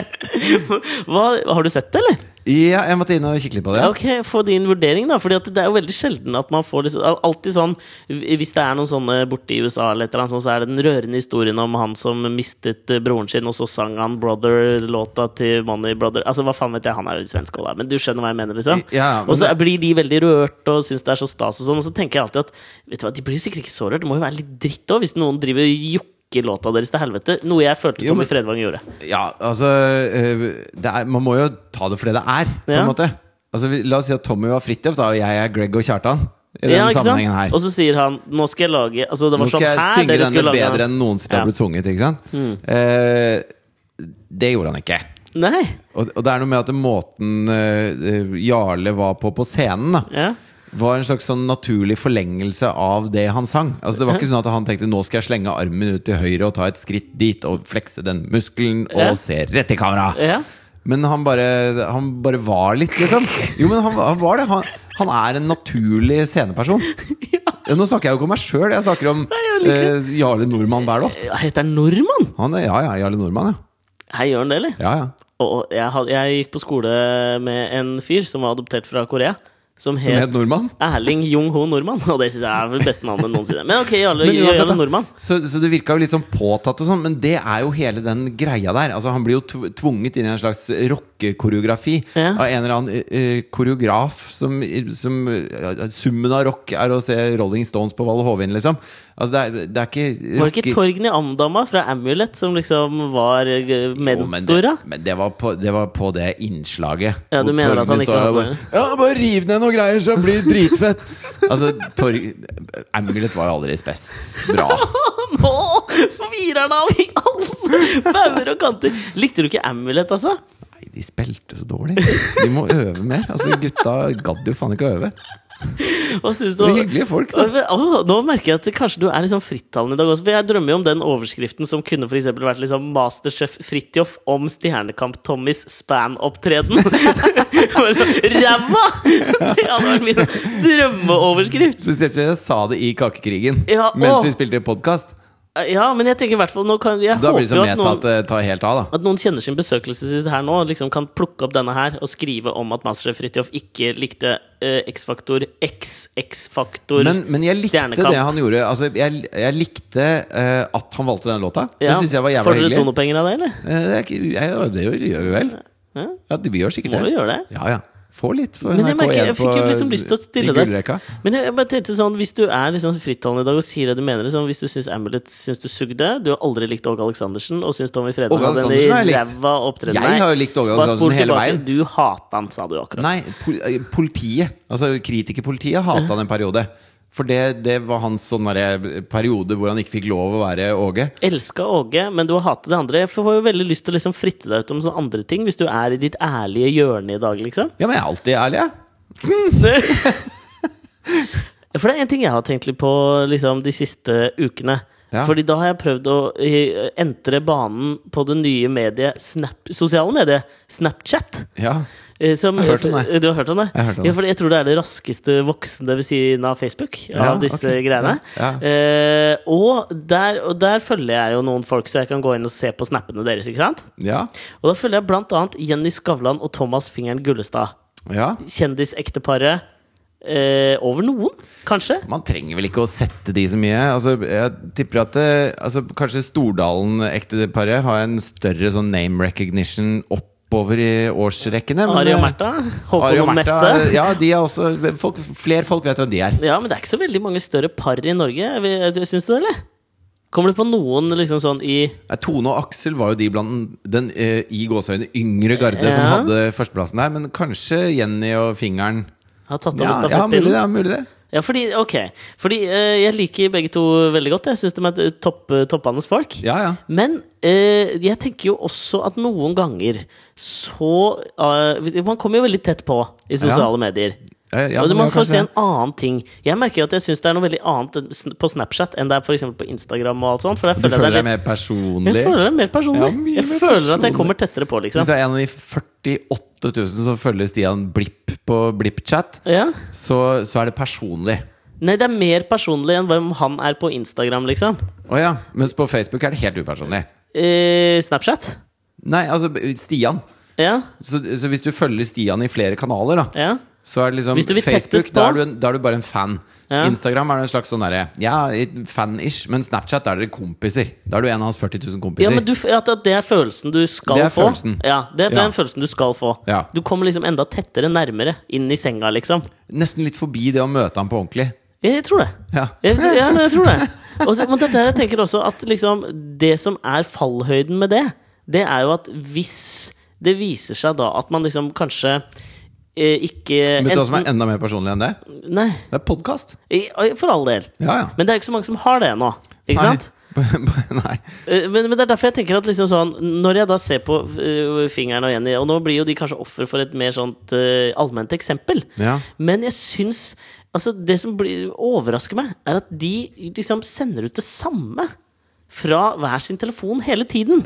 [SPEAKER 1] [laughs] Hva, har du sett det, eller?
[SPEAKER 2] Ja, jeg måtte inn og kikke litt på det.
[SPEAKER 1] Ja, Ok, Få din vurdering, da. Fordi at det er jo veldig sjelden at man får liksom, al- alltid sånn Hvis det er noen sånne borte i USA, eller et eller annet, sånt, så er det den rørende historien om han som mistet eh, broren sin, og så sang han 'Brother'-låta til Money Brother. Altså, hva faen vet jeg, han er jo svensk, og da, men du skjønner hva jeg mener, liksom?
[SPEAKER 2] Ja, men
[SPEAKER 1] og så
[SPEAKER 2] det-
[SPEAKER 1] blir de veldig rørt og syns det er så stas og sånn, og så tenker jeg alltid at Vet du hva, de blir jo sikkert ikke så rørt, det må jo være litt dritt òg, hvis noen driver og jokker låta deres til helvete, noe jeg følte
[SPEAKER 2] Jo,
[SPEAKER 1] Tommy
[SPEAKER 2] men-
[SPEAKER 1] Fredvang gjorde.
[SPEAKER 2] Ja, altså eh, det er, Man må jo ta det for det det er, på
[SPEAKER 1] Ja.
[SPEAKER 2] en måte. Altså, vi, la oss si at Tommy var Fridtjof, da, og jeg er Greg og Kjartan. I
[SPEAKER 1] Ja,
[SPEAKER 2] denne
[SPEAKER 1] ikke
[SPEAKER 2] sammenhengen
[SPEAKER 1] sant?
[SPEAKER 2] her.
[SPEAKER 1] Og så sier han 'nå skal jeg lage Altså, det var
[SPEAKER 2] Nå skal
[SPEAKER 1] sånn
[SPEAKER 2] jeg
[SPEAKER 1] her
[SPEAKER 2] synge
[SPEAKER 1] dere skulle
[SPEAKER 2] denne
[SPEAKER 1] lage
[SPEAKER 2] bedre enn noensinne
[SPEAKER 1] Ja. Mm.
[SPEAKER 2] har blitt sunget. Ikke sant? Eh, det gjorde han ikke.
[SPEAKER 1] Nei.
[SPEAKER 2] Og, og det er noe med at måten eh, eh, Jarle var på på scenen, da,
[SPEAKER 1] Ja.
[SPEAKER 2] var en slags sånn naturlig forlengelse av det han sang. Altså Det var ikke sånn at han tenkte 'nå skal jeg slenge armen ut til høyre og ta et skritt dit' og flekse den muskelen og
[SPEAKER 1] Ja.
[SPEAKER 2] se rett i kamera'.
[SPEAKER 1] Ja.
[SPEAKER 2] Men han bare, han bare var litt, liksom. Jo, men han, han var det. Han, han er en naturlig sceneperson. Ja, Nå snakker jeg jo ikke om meg sjøl, jeg snakker om
[SPEAKER 1] jeg liker
[SPEAKER 2] eh, Jarle Nordmann Berloft.
[SPEAKER 1] Heter han Nordmann?
[SPEAKER 2] Han er, ja, ja, Jarle Nordmann, ja.
[SPEAKER 1] Hei, gjør han det, eller?
[SPEAKER 2] ja, ja.
[SPEAKER 1] Og, og jeg, had, jeg gikk på skole med en fyr som var adoptert fra Korea. Som
[SPEAKER 2] Som
[SPEAKER 1] het
[SPEAKER 2] het Nordmann.
[SPEAKER 1] Erling Jung-ho Nordmann. [laughs] Og det syns jeg er vel det beste navnet noensinne. Men ok, Jarle,
[SPEAKER 2] [laughs] Men uansett,
[SPEAKER 1] Jarle
[SPEAKER 2] da,
[SPEAKER 1] Nordmann.
[SPEAKER 2] så, så det virka jo litt sånn påtatt, og sånn men det er jo hele den greia der. Altså Han blir jo tv- tvunget inn i en slags rockekoreografi
[SPEAKER 1] Ja.
[SPEAKER 2] av en eller annen eh, eh, koreograf som, som eh, Summen av rock er å se Rolling Stones på Valle Hovin, liksom. Altså Det er, det er ikke
[SPEAKER 1] Var det ikke Torgny Amdama fra Amulet som liksom var eh,
[SPEAKER 2] Jo, men det,
[SPEAKER 1] mentora?
[SPEAKER 2] men det, var på, det var på det innslaget.
[SPEAKER 1] Ja, du
[SPEAKER 2] hvor
[SPEAKER 1] mener at
[SPEAKER 2] Torgny
[SPEAKER 1] han ikke
[SPEAKER 2] står der
[SPEAKER 1] hadde-
[SPEAKER 2] og bare, Ja, bare riv ned noen greier, så blir det dritfett! altså, Torg... Amulet var jo aldri spes bra.
[SPEAKER 1] [laughs] Nå firer han av i alle [laughs] bauger og kanter! Likte du ikke Amulet, altså?
[SPEAKER 2] Nei, de spilte så dårlig. De må øve mer. Altså, Gutta gadd jo faen ikke å øve.
[SPEAKER 1] Hva synes du?
[SPEAKER 2] Det er hyggelige folk, da.
[SPEAKER 1] Åh, åh, nå merker jeg at det- kanskje du er litt sånn frittalende i dag også. For jeg drømmer jo om den overskriften som kunne for eksempel vært liksom Masterchef Fridtjof om Stjernekamp-Tommys [laughs] span-opptreden. Bare sånn, Ræva! Det hadde vært min drømmeoverskrift.
[SPEAKER 2] Spesielt siden jeg sa det i Kakekrigen
[SPEAKER 1] Ja,
[SPEAKER 2] mens
[SPEAKER 1] åh.
[SPEAKER 2] vi spilte podkast.
[SPEAKER 1] Ja, men jeg tenker i hvert fall nå kan Jeg
[SPEAKER 2] Da
[SPEAKER 1] håper
[SPEAKER 2] blir det
[SPEAKER 1] jo
[SPEAKER 2] så
[SPEAKER 1] at
[SPEAKER 2] med at
[SPEAKER 1] noen
[SPEAKER 2] det tar helt av, da.
[SPEAKER 1] at noen kjenner sin besøkelsestid her nå, liksom kan plukke opp denne her og skrive om at Masterchef Fridtjof ikke likte eh, X-faktor X, X-faktor
[SPEAKER 2] Men, men jeg likte
[SPEAKER 1] Stjernekamp.
[SPEAKER 2] det han gjorde. Altså, jeg, jeg likte eh, at han valgte den låta. Det
[SPEAKER 1] Ja.
[SPEAKER 2] syns jeg var
[SPEAKER 1] Får
[SPEAKER 2] jævla
[SPEAKER 1] dere
[SPEAKER 2] hyggelig.
[SPEAKER 1] tonopenger av det, eller?
[SPEAKER 2] Eh, det, er ikke, jeg, det gjør, gjør vi vel?
[SPEAKER 1] Ja.
[SPEAKER 2] Ja, det, vi gjør sikkert
[SPEAKER 1] Må
[SPEAKER 2] det.
[SPEAKER 1] jo gjøre det.
[SPEAKER 2] Ja, ja. Få litt for
[SPEAKER 1] Men jeg, merker,
[SPEAKER 2] NRK1
[SPEAKER 1] jeg fikk jo
[SPEAKER 2] på-
[SPEAKER 1] liksom lyst til å
[SPEAKER 2] i
[SPEAKER 1] stille deg
[SPEAKER 2] gullrekka.
[SPEAKER 1] Men jeg, jeg bare tenkte sånn Hvis du er liksom frittalende i dag og sier det du mener liksom, Hvis du syns Amulet syns du sugde Du har aldri likt Åge Aleksandersen Og syns Tommy Fredman
[SPEAKER 2] Åge
[SPEAKER 1] hadde
[SPEAKER 2] Aleksandersen har
[SPEAKER 1] en
[SPEAKER 2] jeg likt.
[SPEAKER 1] ræva opptreden
[SPEAKER 2] Jeg
[SPEAKER 1] Nei,
[SPEAKER 2] har jo likt Åge
[SPEAKER 1] bare
[SPEAKER 2] Aleksandersen
[SPEAKER 1] spol
[SPEAKER 2] hele
[SPEAKER 1] tilbake.
[SPEAKER 2] veien.
[SPEAKER 1] Du hata han, sa du akkurat
[SPEAKER 2] Nei, pol eh, politiet, altså kritikerpolitiet, hata han en periode. For det, det var hans sånn derre periode hvor han ikke fikk lov å være Åge.
[SPEAKER 1] Elska Åge, men du har hatet det andre Jeg får jo veldig lyst til å liksom fritte deg ut om sånne andre ting Hvis du er i ditt ærlige hjørne i dag liksom
[SPEAKER 2] Ja, men jeg er alltid ærlig, jeg.
[SPEAKER 1] For det er en ting jeg har tenkt litt på liksom, de siste ukene.
[SPEAKER 2] Ja.
[SPEAKER 1] Fordi da har jeg prøvd å eh, entre banen på det nye mediet Snap, sosiale mediet Snapchat.
[SPEAKER 2] Ja.
[SPEAKER 1] eh, Som,
[SPEAKER 2] Jeg har hørt om det.
[SPEAKER 1] Du har hørt om det?
[SPEAKER 2] Jeg har hørt om
[SPEAKER 1] ja,
[SPEAKER 2] det.
[SPEAKER 1] fordi jeg tror det er det raskeste voksende ved siden av Facebook.
[SPEAKER 2] Ja,
[SPEAKER 1] av disse
[SPEAKER 2] ok.
[SPEAKER 1] greiene
[SPEAKER 2] Ja, ja.
[SPEAKER 1] Eh, og, der, og der følger jeg jo noen folk, så jeg kan gå inn og se på snappene deres. ikke sant?
[SPEAKER 2] Ja.
[SPEAKER 1] Og da følger jeg blant annet Jenny Skavlan og Thomas Fingeren Gullestad.
[SPEAKER 2] ja.
[SPEAKER 1] Kjendisekteparet eh, over noen, kanskje?
[SPEAKER 2] Man trenger vel ikke å sette de så mye. Altså, jeg tipper at det, altså, kanskje Stordalen-ekteparet har en større sånn name recognition oppover i årsrekkene. men-
[SPEAKER 1] Ari og Märtha?
[SPEAKER 2] Ari
[SPEAKER 1] Håkon
[SPEAKER 2] eh, og
[SPEAKER 1] og
[SPEAKER 2] Märtha,
[SPEAKER 1] Mette?
[SPEAKER 2] Ja, de er også folk, Flere folk vet hvem de er.
[SPEAKER 1] Ja, men det er ikke så veldig mange større par i Norge, vi- syns du det, eller? Kommer du på noen liksom sånn i
[SPEAKER 2] Nei, Tone og Aksel var jo de blant den- den eh, i gåseøyne yngre garde som
[SPEAKER 1] Ja.
[SPEAKER 2] hadde førsteplassen der. Men kanskje Jenny og Fingeren
[SPEAKER 1] Har tatt over
[SPEAKER 2] Ja, ja mulig det.
[SPEAKER 1] stafettpinnen?
[SPEAKER 2] Ja, mulig det.
[SPEAKER 1] Ja, fordi, ok Fordi eh, jeg liker begge to veldig godt. Jeg syns de er et topp, toppende folk.
[SPEAKER 2] Ja, ja.
[SPEAKER 1] Men eh, jeg tenker jo også at noen ganger så eh, Man kommer jo veldig tett på i sosiale medier.
[SPEAKER 2] Ja, ja,
[SPEAKER 1] og
[SPEAKER 2] men
[SPEAKER 1] man
[SPEAKER 2] ja,
[SPEAKER 1] får
[SPEAKER 2] kanskje
[SPEAKER 1] se en
[SPEAKER 2] det.
[SPEAKER 1] annen ting. Jeg merker at jeg syns det er noe veldig annet enn sn- på Snapchat enn det er for eksempel på Instagram. og alt sånt For jeg
[SPEAKER 2] Du
[SPEAKER 1] føler,
[SPEAKER 2] føler
[SPEAKER 1] det
[SPEAKER 2] deg
[SPEAKER 1] er litt,
[SPEAKER 2] mer personlig?
[SPEAKER 1] jeg føler det er mer personlig.
[SPEAKER 2] Ja, mye
[SPEAKER 1] jeg
[SPEAKER 2] mer
[SPEAKER 1] føler at
[SPEAKER 2] personlig.
[SPEAKER 1] jeg kommer tettere på,
[SPEAKER 2] Hvis
[SPEAKER 1] liksom.
[SPEAKER 2] du er en av de 48 000 som følger Stian Blipp på Blipp-chat,
[SPEAKER 1] Ja.
[SPEAKER 2] så, så er det personlig.
[SPEAKER 1] Nei, det er mer personlig enn hvem han er på Instagram, liksom.
[SPEAKER 2] Å ja. Mens på Facebook er det helt upersonlig.
[SPEAKER 1] Eh, Snapchat.
[SPEAKER 2] Nei, altså Stian.
[SPEAKER 1] Ja.
[SPEAKER 2] Så, så hvis du følger Stian i flere kanaler, da
[SPEAKER 1] ja.
[SPEAKER 2] Så er det liksom
[SPEAKER 1] Hvis du vil
[SPEAKER 2] Facebook,
[SPEAKER 1] tettest på-
[SPEAKER 2] da er, du en, da er du bare en fan.
[SPEAKER 1] Ja.
[SPEAKER 2] Instagram er du en slags sånn derre Ja, fan-ish, men Snapchat da er dere kompiser. Da er du en av hans 40 000
[SPEAKER 1] Ja,
[SPEAKER 2] kompiser.
[SPEAKER 1] men du, at, at det er følelsen du skal
[SPEAKER 2] Det er
[SPEAKER 1] få.
[SPEAKER 2] følelsen.
[SPEAKER 1] Ja, det, det
[SPEAKER 2] Ja.
[SPEAKER 1] er den følelsen du skal få.
[SPEAKER 2] Ja.
[SPEAKER 1] Du kommer liksom enda tettere nærmere inn i senga, liksom.
[SPEAKER 2] Nesten litt forbi det å møte ham på ordentlig.
[SPEAKER 1] Jeg, jeg tror det.
[SPEAKER 2] Ja.
[SPEAKER 1] Jeg, ja, men jeg tror det. Og så- men dette, her, jeg tenker også at liksom, det som er fallhøyden med det, det er jo at hvis det viser seg da at man liksom kanskje eh, ikke
[SPEAKER 2] Vet du hva som er
[SPEAKER 1] enten-
[SPEAKER 2] enda mer personlig enn det?
[SPEAKER 1] Nei,
[SPEAKER 2] Det er podkast.
[SPEAKER 1] i- oi, for all del.
[SPEAKER 2] Ja, ja.
[SPEAKER 1] Men det er jo ikke så mange som har det ennå. Ikke sant?
[SPEAKER 2] [laughs] Nei.
[SPEAKER 1] Eh, Men, men det er derfor jeg tenker at liksom sånn Når jeg da ser på eh, fingeren og Jenny Og nå blir jo de kanskje offer for et mer sånt eh, allment eksempel
[SPEAKER 2] Ja.
[SPEAKER 1] Men jeg syns Altså det som blir, overrasker meg Er at de liksom sender ut det samme Fra hver sin telefon hele tiden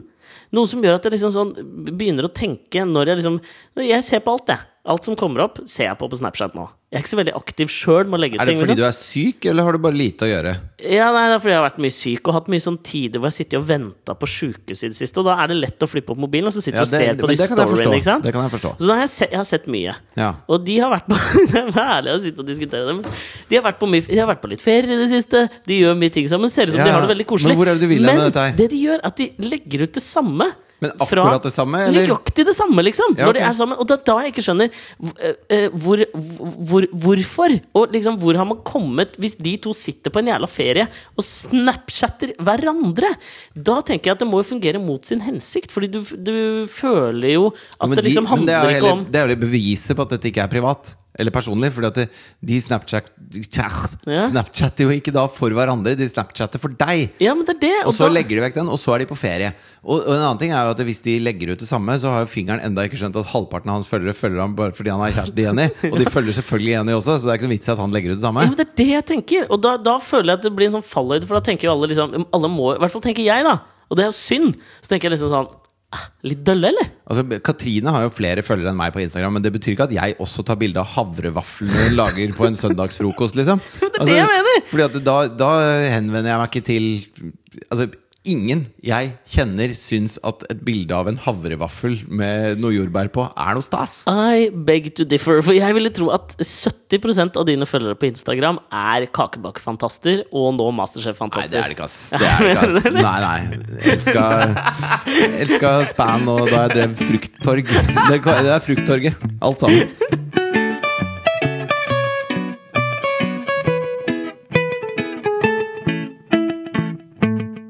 [SPEAKER 1] Noe som gjør at jeg liksom sånn Begynner å tenke når jeg liksom Jeg ser på alt det Alt som kommer opp ser jeg på på Snapchat nå Jeg er ikke så veldig aktiv selv med å legge ut
[SPEAKER 2] Er det
[SPEAKER 1] ting
[SPEAKER 2] fordi
[SPEAKER 1] liksom.
[SPEAKER 2] du er syk, eller har du bare lite å gjøre?
[SPEAKER 1] Ja, nei, det er fordi jeg har vært mye syk og hatt mye sånn tider hvor jeg sitter og venter på sjukehuset i det siste. Og da er det lett å flippe opp mobilen, og så sitter du
[SPEAKER 2] Ja,
[SPEAKER 1] og ser på
[SPEAKER 2] men
[SPEAKER 1] de
[SPEAKER 2] det kan jeg
[SPEAKER 1] storyene.
[SPEAKER 2] forstå.
[SPEAKER 1] ikke sant?
[SPEAKER 2] Det kan jeg forstå.
[SPEAKER 1] Så da har jeg, se, jeg har sett mye.
[SPEAKER 2] Ja.
[SPEAKER 1] Og de har vært på [laughs] Det er ærlig å sitte og diskutere det, men de har, vært på mye, de har vært på litt ferie i det siste. De gjør mye ting sammen. Ser ut som
[SPEAKER 2] Ja,
[SPEAKER 1] de har
[SPEAKER 2] ja.
[SPEAKER 1] det veldig koselig.
[SPEAKER 2] Men hvor er det du vil hen
[SPEAKER 1] Men
[SPEAKER 2] med dette her?
[SPEAKER 1] det de gjør, er at de legger ut det samme.
[SPEAKER 2] Men akkurat det samme, eller?
[SPEAKER 1] Nøyaktig det samme, liksom.
[SPEAKER 2] Ja,
[SPEAKER 1] Når de
[SPEAKER 2] ok.
[SPEAKER 1] er sammen. Og det er da jeg ikke skjønner eh, eh, hvor, hvor, hvorfor. Og liksom, hvor har man kommet hvis de to sitter på en jævla ferie og snapchatter hverandre? Da tenker jeg at det må jo fungere mot sin hensikt, fordi du, du føler jo at
[SPEAKER 2] Men
[SPEAKER 1] det
[SPEAKER 2] de-
[SPEAKER 1] liksom
[SPEAKER 2] men
[SPEAKER 1] handler
[SPEAKER 2] det er jo
[SPEAKER 1] ikke
[SPEAKER 2] hele-
[SPEAKER 1] om
[SPEAKER 2] Det er jo det beviset på at dette ikke er privat. Eller personlig, fordi at det, de Snapchat,
[SPEAKER 1] Ja.
[SPEAKER 2] Snapchatter jo ikke da for hverandre, de Snapchatter for deg.
[SPEAKER 1] Ja, men det er det.
[SPEAKER 2] Og så
[SPEAKER 1] da-
[SPEAKER 2] legger de vekk den, og så er de på ferie. Og, og en annen ting er jo at Hvis de legger ut det samme, så har jo fingeren enda ikke skjønt at halvparten av hans følgere følger ham bare fordi han er kjæreste i Jenny. Og de følger selvfølgelig Jenny også, så det er ikke noe vits i at han legger ut det samme.
[SPEAKER 1] Ja, men det er det jeg tenker. Og da, da føler jeg at det blir en sånn fallhøyde, for da tenker jo alle liksom alle må, I hvert fall tenker jeg, da. Og det er jo synd. Så tenker jeg liksom sånn «Ah, Litt dølle, eller?
[SPEAKER 2] Altså, Katrine har jo flere følgere enn meg på Instagram, men det betyr ikke at jeg også tar bilde av havrevaflene hun lager på en søndagsfrokost, liksom. Altså,
[SPEAKER 1] er [laughs] det jeg mener.
[SPEAKER 2] Fordi at da, da henvender jeg meg ikke til Altså, ingen jeg kjenner syns at et bilde av en havrevaffel med noe jordbær på er noe stas.
[SPEAKER 1] I beg to differ. For jeg ville tro at 70 av dine følgere på Instagram er kakebakkfantaster og nå
[SPEAKER 2] Nei,
[SPEAKER 1] Masterchef-fantaster.
[SPEAKER 2] det er det ikke, ass. Det er det ikke, ass. [laughs] Nei, nei. Elska, elska span og da jeg drev frukttorg. Det, kan- det er frukttorget, alt sammen.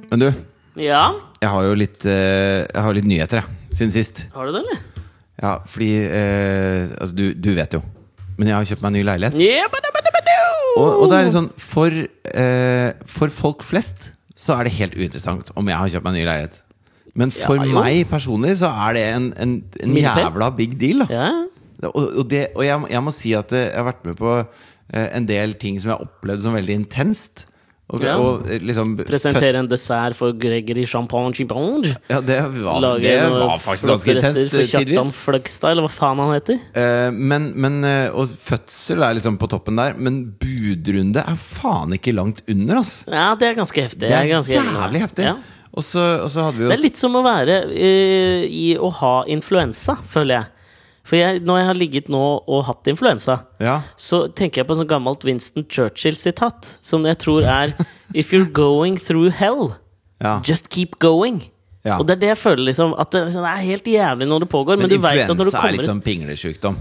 [SPEAKER 2] Men du,
[SPEAKER 1] Ja,
[SPEAKER 2] jeg har jo litt, eh, jeg har litt nyheter, jeg, siden sist.
[SPEAKER 1] har du det, eller?
[SPEAKER 2] Ja, fordi eh, Altså, du, du vet jo. Men jeg har kjøpt meg en ny leilighet.
[SPEAKER 1] Yeah, bada, bada, bada.
[SPEAKER 2] Og, og det er litt sånn for, eh, for folk flest så er det helt uinteressant om jeg har kjøpt meg en ny leilighet. Men for
[SPEAKER 1] Ja, jo.
[SPEAKER 2] meg personlig så er det en, en, en
[SPEAKER 1] Milepæl.
[SPEAKER 2] jævla big deal. Da.
[SPEAKER 1] Ja.
[SPEAKER 2] Og, og, det, og jeg, jeg må si at eh, jeg har vært med på eh, en del ting som jeg har opplevd som veldig intenst. Og,
[SPEAKER 1] Ja.
[SPEAKER 2] og, eh, liksom
[SPEAKER 1] Presentere en dessert for Gregory Champagne Chimpange.
[SPEAKER 2] Ja, det var,
[SPEAKER 1] Lage
[SPEAKER 2] det
[SPEAKER 1] noen
[SPEAKER 2] var faktisk
[SPEAKER 1] flotte
[SPEAKER 2] ganske
[SPEAKER 1] retter
[SPEAKER 2] intenst.
[SPEAKER 1] for
[SPEAKER 2] eh,
[SPEAKER 1] Kjartan
[SPEAKER 2] Tidvis.
[SPEAKER 1] Fløgstad, eller hva faen han heter.
[SPEAKER 2] Eh, men, men, eh, og fødsel er liksom på toppen der, men budrunde er faen ikke langt under, ass.
[SPEAKER 1] Ja, det er ganske heftig.
[SPEAKER 2] Det er
[SPEAKER 1] Jeg ganske enig med
[SPEAKER 2] jævlig
[SPEAKER 1] deg.
[SPEAKER 2] heftig.
[SPEAKER 1] Ja.
[SPEAKER 2] Og, så, og så hadde vi jo
[SPEAKER 1] Det er litt som å være eh, i å ha influensa, føler jeg. For jeg, når jeg har ligget nå og hatt influensa,
[SPEAKER 2] ja.
[SPEAKER 1] så tenker jeg på et sånt gammelt Winston Churchill-sitat, som jeg tror
[SPEAKER 2] [laughs]
[SPEAKER 1] er If you're going through hell,
[SPEAKER 2] Ja.
[SPEAKER 1] just keep going.
[SPEAKER 2] Ja.
[SPEAKER 1] Og det er det jeg føler, liksom. At det, det er helt jævlig når det pågår, men,
[SPEAKER 2] Men
[SPEAKER 1] du veit at når du
[SPEAKER 2] influensa er
[SPEAKER 1] kommer
[SPEAKER 2] litt
[SPEAKER 1] ut
[SPEAKER 2] sånn pinglesjukdom.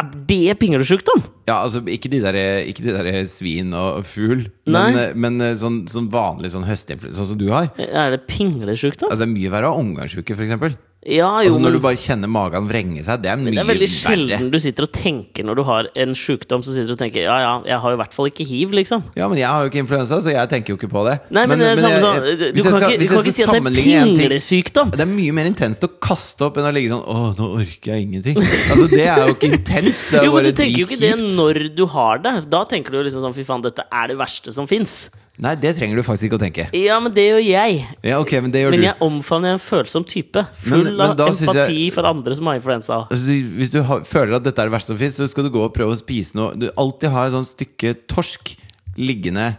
[SPEAKER 1] Er det pinglesjukdom?
[SPEAKER 2] Ja, altså ikke de der, ikke de der svin og fugl, men,
[SPEAKER 1] Nei.
[SPEAKER 2] eh, men eh, sånn, sånn vanlig sånn høstinfluensa, sånn som du har.
[SPEAKER 1] Er det pinglesjukdom?
[SPEAKER 2] Altså Det er mye verre å ha omgangsuke, f.eks.
[SPEAKER 1] Ja, jo,
[SPEAKER 2] Altså
[SPEAKER 1] men
[SPEAKER 2] Når du bare kjenner magen vrenge seg, det er mye
[SPEAKER 1] det er veldig
[SPEAKER 2] verre.
[SPEAKER 1] sjelden du sitter og tenker når du har en sjukdom, så sitter du og tenker ja, ja, jeg har jo i hvert fall ikke hiv, liksom.
[SPEAKER 2] Ja, men jeg har jo ikke influensa, så jeg tenker jo ikke på det.
[SPEAKER 1] Nei, men, det er samme som eh, Du
[SPEAKER 2] hvis jeg
[SPEAKER 1] kan
[SPEAKER 2] skal-
[SPEAKER 1] ikke,
[SPEAKER 2] hvis
[SPEAKER 1] du kan
[SPEAKER 2] jeg
[SPEAKER 1] ikke si
[SPEAKER 2] skal
[SPEAKER 1] at det
[SPEAKER 2] sammenligne
[SPEAKER 1] er
[SPEAKER 2] en ting-
[SPEAKER 1] pinglesykdom.
[SPEAKER 2] Det er mye mer intenst å kaste opp enn å ligge sånn Å, nå orker jeg ingenting. Altså, det er jo ikke intenst. Det er
[SPEAKER 1] Jo, men
[SPEAKER 2] bare
[SPEAKER 1] du tenker jo ikke det
[SPEAKER 2] dritkjipt.
[SPEAKER 1] når du har det. Da tenker du jo liksom sånn fy faen, dette er det verste som fins.
[SPEAKER 2] Nei, det trenger du faktisk ikke å tenke.
[SPEAKER 1] Ja, men det gjør jeg.
[SPEAKER 2] Ja, ok, men det gjør
[SPEAKER 1] Men
[SPEAKER 2] du.
[SPEAKER 1] jeg omfavner en følsom type. Full
[SPEAKER 2] Men- men
[SPEAKER 1] av
[SPEAKER 2] da synes jeg-
[SPEAKER 1] empati for andre som har influensa.
[SPEAKER 2] Altså, du- hvis du har, føler at dette er det verste som fins, så skal du gå og prøve å spise noe. Du alltid har et sånt stykke torsk liggende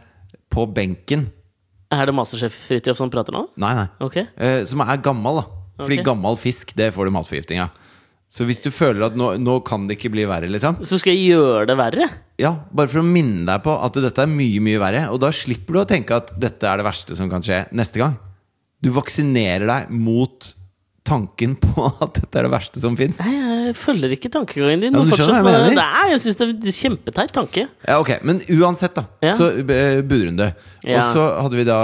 [SPEAKER 2] på benken.
[SPEAKER 1] Er det Masterchef Fridtjof som prater nå?
[SPEAKER 2] Nei, nei.
[SPEAKER 1] Ok.
[SPEAKER 2] Eh, som er gammel, da. Fordi
[SPEAKER 1] Ok.
[SPEAKER 2] gammel fisk, det får du matforgiftning av. Så hvis du føler at nå, nå kan det ikke bli verre, liksom
[SPEAKER 1] Så skal jeg gjøre det verre?
[SPEAKER 2] Ja, bare for å minne deg på at dette er mye, mye verre. Og da slipper du å tenke at dette er det verste som kan skje neste gang. Du vaksinerer deg mot tanken på [laughs] at dette er det verste som fins.
[SPEAKER 1] Nei, jeg følger ikke tankegangen din.
[SPEAKER 2] Ja, men du
[SPEAKER 1] Fortsett
[SPEAKER 2] skjønner hva
[SPEAKER 1] med
[SPEAKER 2] jeg
[SPEAKER 1] det.
[SPEAKER 2] mener.
[SPEAKER 1] Nei, jeg syns det er en kjempeteit tanke.
[SPEAKER 2] Ja, ok, Men uansett, da.
[SPEAKER 1] Ja.
[SPEAKER 2] Så eh, budrunde.
[SPEAKER 1] Ja.
[SPEAKER 2] Og så hadde vi da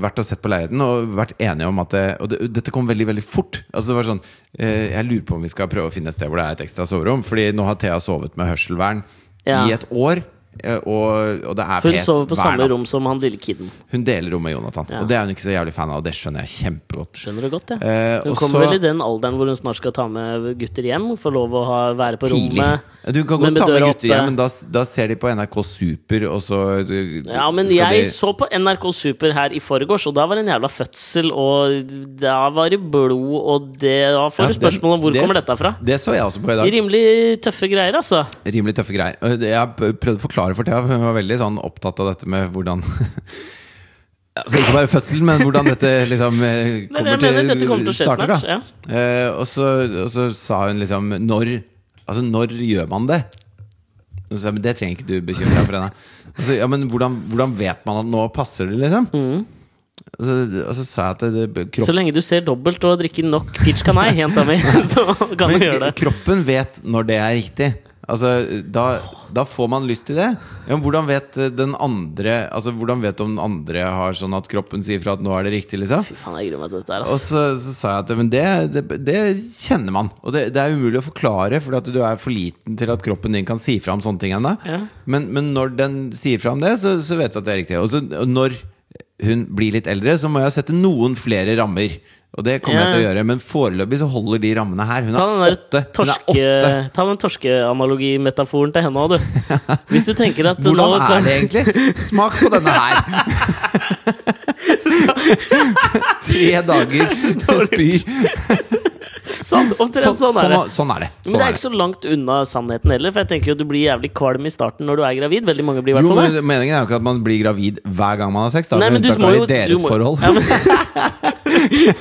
[SPEAKER 2] vært og sett på leiligheten og vært enige om at det, Og det, dette kom veldig veldig fort. Altså det var sånn eh, Jeg lurer på om vi skal prøve å finne et sted hvor det er et ekstra soverom. Fordi nå har Thea sovet med hørselvern
[SPEAKER 1] Ja.
[SPEAKER 2] i et år. eh, Og, og det er
[SPEAKER 1] For hun
[SPEAKER 2] pes
[SPEAKER 1] sover på
[SPEAKER 2] hver
[SPEAKER 1] samme
[SPEAKER 2] natt.
[SPEAKER 1] rom som han lille kiden.
[SPEAKER 2] Hun deler rom med Jonathan,
[SPEAKER 1] Ja.
[SPEAKER 2] og det er hun ikke så jævlig fan av. Og det skjønner jeg kjempegodt.
[SPEAKER 1] Skjønner du godt, jeg.
[SPEAKER 2] Eh,
[SPEAKER 1] Hun
[SPEAKER 2] og
[SPEAKER 1] kommer
[SPEAKER 2] så-
[SPEAKER 1] vel i den alderen hvor hun snart skal ta med gutter hjem. Få lov å ha, være på
[SPEAKER 2] Tidlig.
[SPEAKER 1] rommet.
[SPEAKER 2] Du kan
[SPEAKER 1] men
[SPEAKER 2] godt
[SPEAKER 1] med
[SPEAKER 2] ta med
[SPEAKER 1] døra
[SPEAKER 2] gutter
[SPEAKER 1] oppe.
[SPEAKER 2] hjem, men da, da ser de på NRK Super, og så du-
[SPEAKER 1] Ja, men
[SPEAKER 2] skal
[SPEAKER 1] jeg
[SPEAKER 2] de-
[SPEAKER 1] så på NRK Super her i forgårs, og da var det en jævla fødsel, og da var det blod, og det, da
[SPEAKER 2] Ja,
[SPEAKER 1] får du spørsmål om hvor
[SPEAKER 2] det-
[SPEAKER 1] kommer dette fra.
[SPEAKER 2] Det så jeg også på i dag.
[SPEAKER 1] Rimelig tøffe greier, altså.
[SPEAKER 2] Rimelig tøffe greier. Og det- Jeg prøvde å forklare for Thea, for hun var veldig sånn opptatt av dette med hvordan [laughs] Altså ikke bare fødselen, men hvordan dette liksom eh,
[SPEAKER 1] Nei,
[SPEAKER 2] kommer
[SPEAKER 1] jeg
[SPEAKER 2] til,
[SPEAKER 1] mener dette kommer til å skje
[SPEAKER 2] starter, da.
[SPEAKER 1] snart, ja.
[SPEAKER 2] Eh, og, så, og så sa hun liksom Når Altså, når gjør man det? Og så sa jeg, men Det trenger ikke du bekymre deg for. Henne. Altså, ja, men hvordan, hvordan vet man at nå passer det, liksom?
[SPEAKER 1] Mm.
[SPEAKER 2] Og, så, og så sa jeg at det, det, kroppen
[SPEAKER 1] Så lenge du ser dobbelt og drikker nok Peach
[SPEAKER 2] [laughs]
[SPEAKER 1] Canai, jenta mi, [laughs] så kan du
[SPEAKER 2] Men
[SPEAKER 1] gjøre det.
[SPEAKER 2] kroppen vet når det er riktig. Altså, da, da får man lyst til det. Ja, men hvordan vet eh, den andre Altså, hvordan vet om den andre har sånn at kroppen sier fra at nå er det riktig? liksom?
[SPEAKER 1] Fy faen, jeg gruer meg til dette her,
[SPEAKER 2] Og
[SPEAKER 1] ass.
[SPEAKER 2] så, så sa jeg at men det, det, det kjenner man. Og det, det er umulig å forklare, Fordi at du er for liten til at kroppen din kan si fra om sånne ting ennå.
[SPEAKER 1] Ja.
[SPEAKER 2] Men, men når den sier fra om det, så, så vet du at det er riktig. Og så og når hun blir litt eldre, så må jeg sette noen flere rammer. Og det kommer jeg til å
[SPEAKER 1] Ja.
[SPEAKER 2] gjøre, men foreløpig så holder de rammene her. Hun
[SPEAKER 1] Ta
[SPEAKER 2] er
[SPEAKER 1] den,
[SPEAKER 2] åtte.
[SPEAKER 1] der
[SPEAKER 2] Hun er åtte.
[SPEAKER 1] torske, ta den torskeanalogi-metaforen til henne òg,
[SPEAKER 2] [laughs]
[SPEAKER 1] du. Hvis du tenker at
[SPEAKER 2] Hvordan
[SPEAKER 1] nå
[SPEAKER 2] er
[SPEAKER 1] kan,
[SPEAKER 2] det egentlig? Smak på denne her! Tre dager spyr.
[SPEAKER 1] [laughs] Sånn,
[SPEAKER 2] Sånn,
[SPEAKER 1] omtrent sånn
[SPEAKER 2] sånn,
[SPEAKER 1] er det.
[SPEAKER 2] sånn er det.
[SPEAKER 1] Men
[SPEAKER 2] Sånn
[SPEAKER 1] det er
[SPEAKER 2] er
[SPEAKER 1] ikke
[SPEAKER 2] det.
[SPEAKER 1] så langt unna sannheten heller, for jeg tenker jo at du blir jævlig kvalm i starten når du er gravid. Veldig mange blir i
[SPEAKER 2] Jo,
[SPEAKER 1] hvert fall det.
[SPEAKER 2] men Meningen er jo ikke at man blir gravid hver gang man har sex. Da,
[SPEAKER 1] Nei, men
[SPEAKER 2] med
[SPEAKER 1] du
[SPEAKER 2] unntak
[SPEAKER 1] må
[SPEAKER 2] av
[SPEAKER 1] jo
[SPEAKER 2] i deres
[SPEAKER 1] du må,
[SPEAKER 2] forhold.
[SPEAKER 1] Ja, men,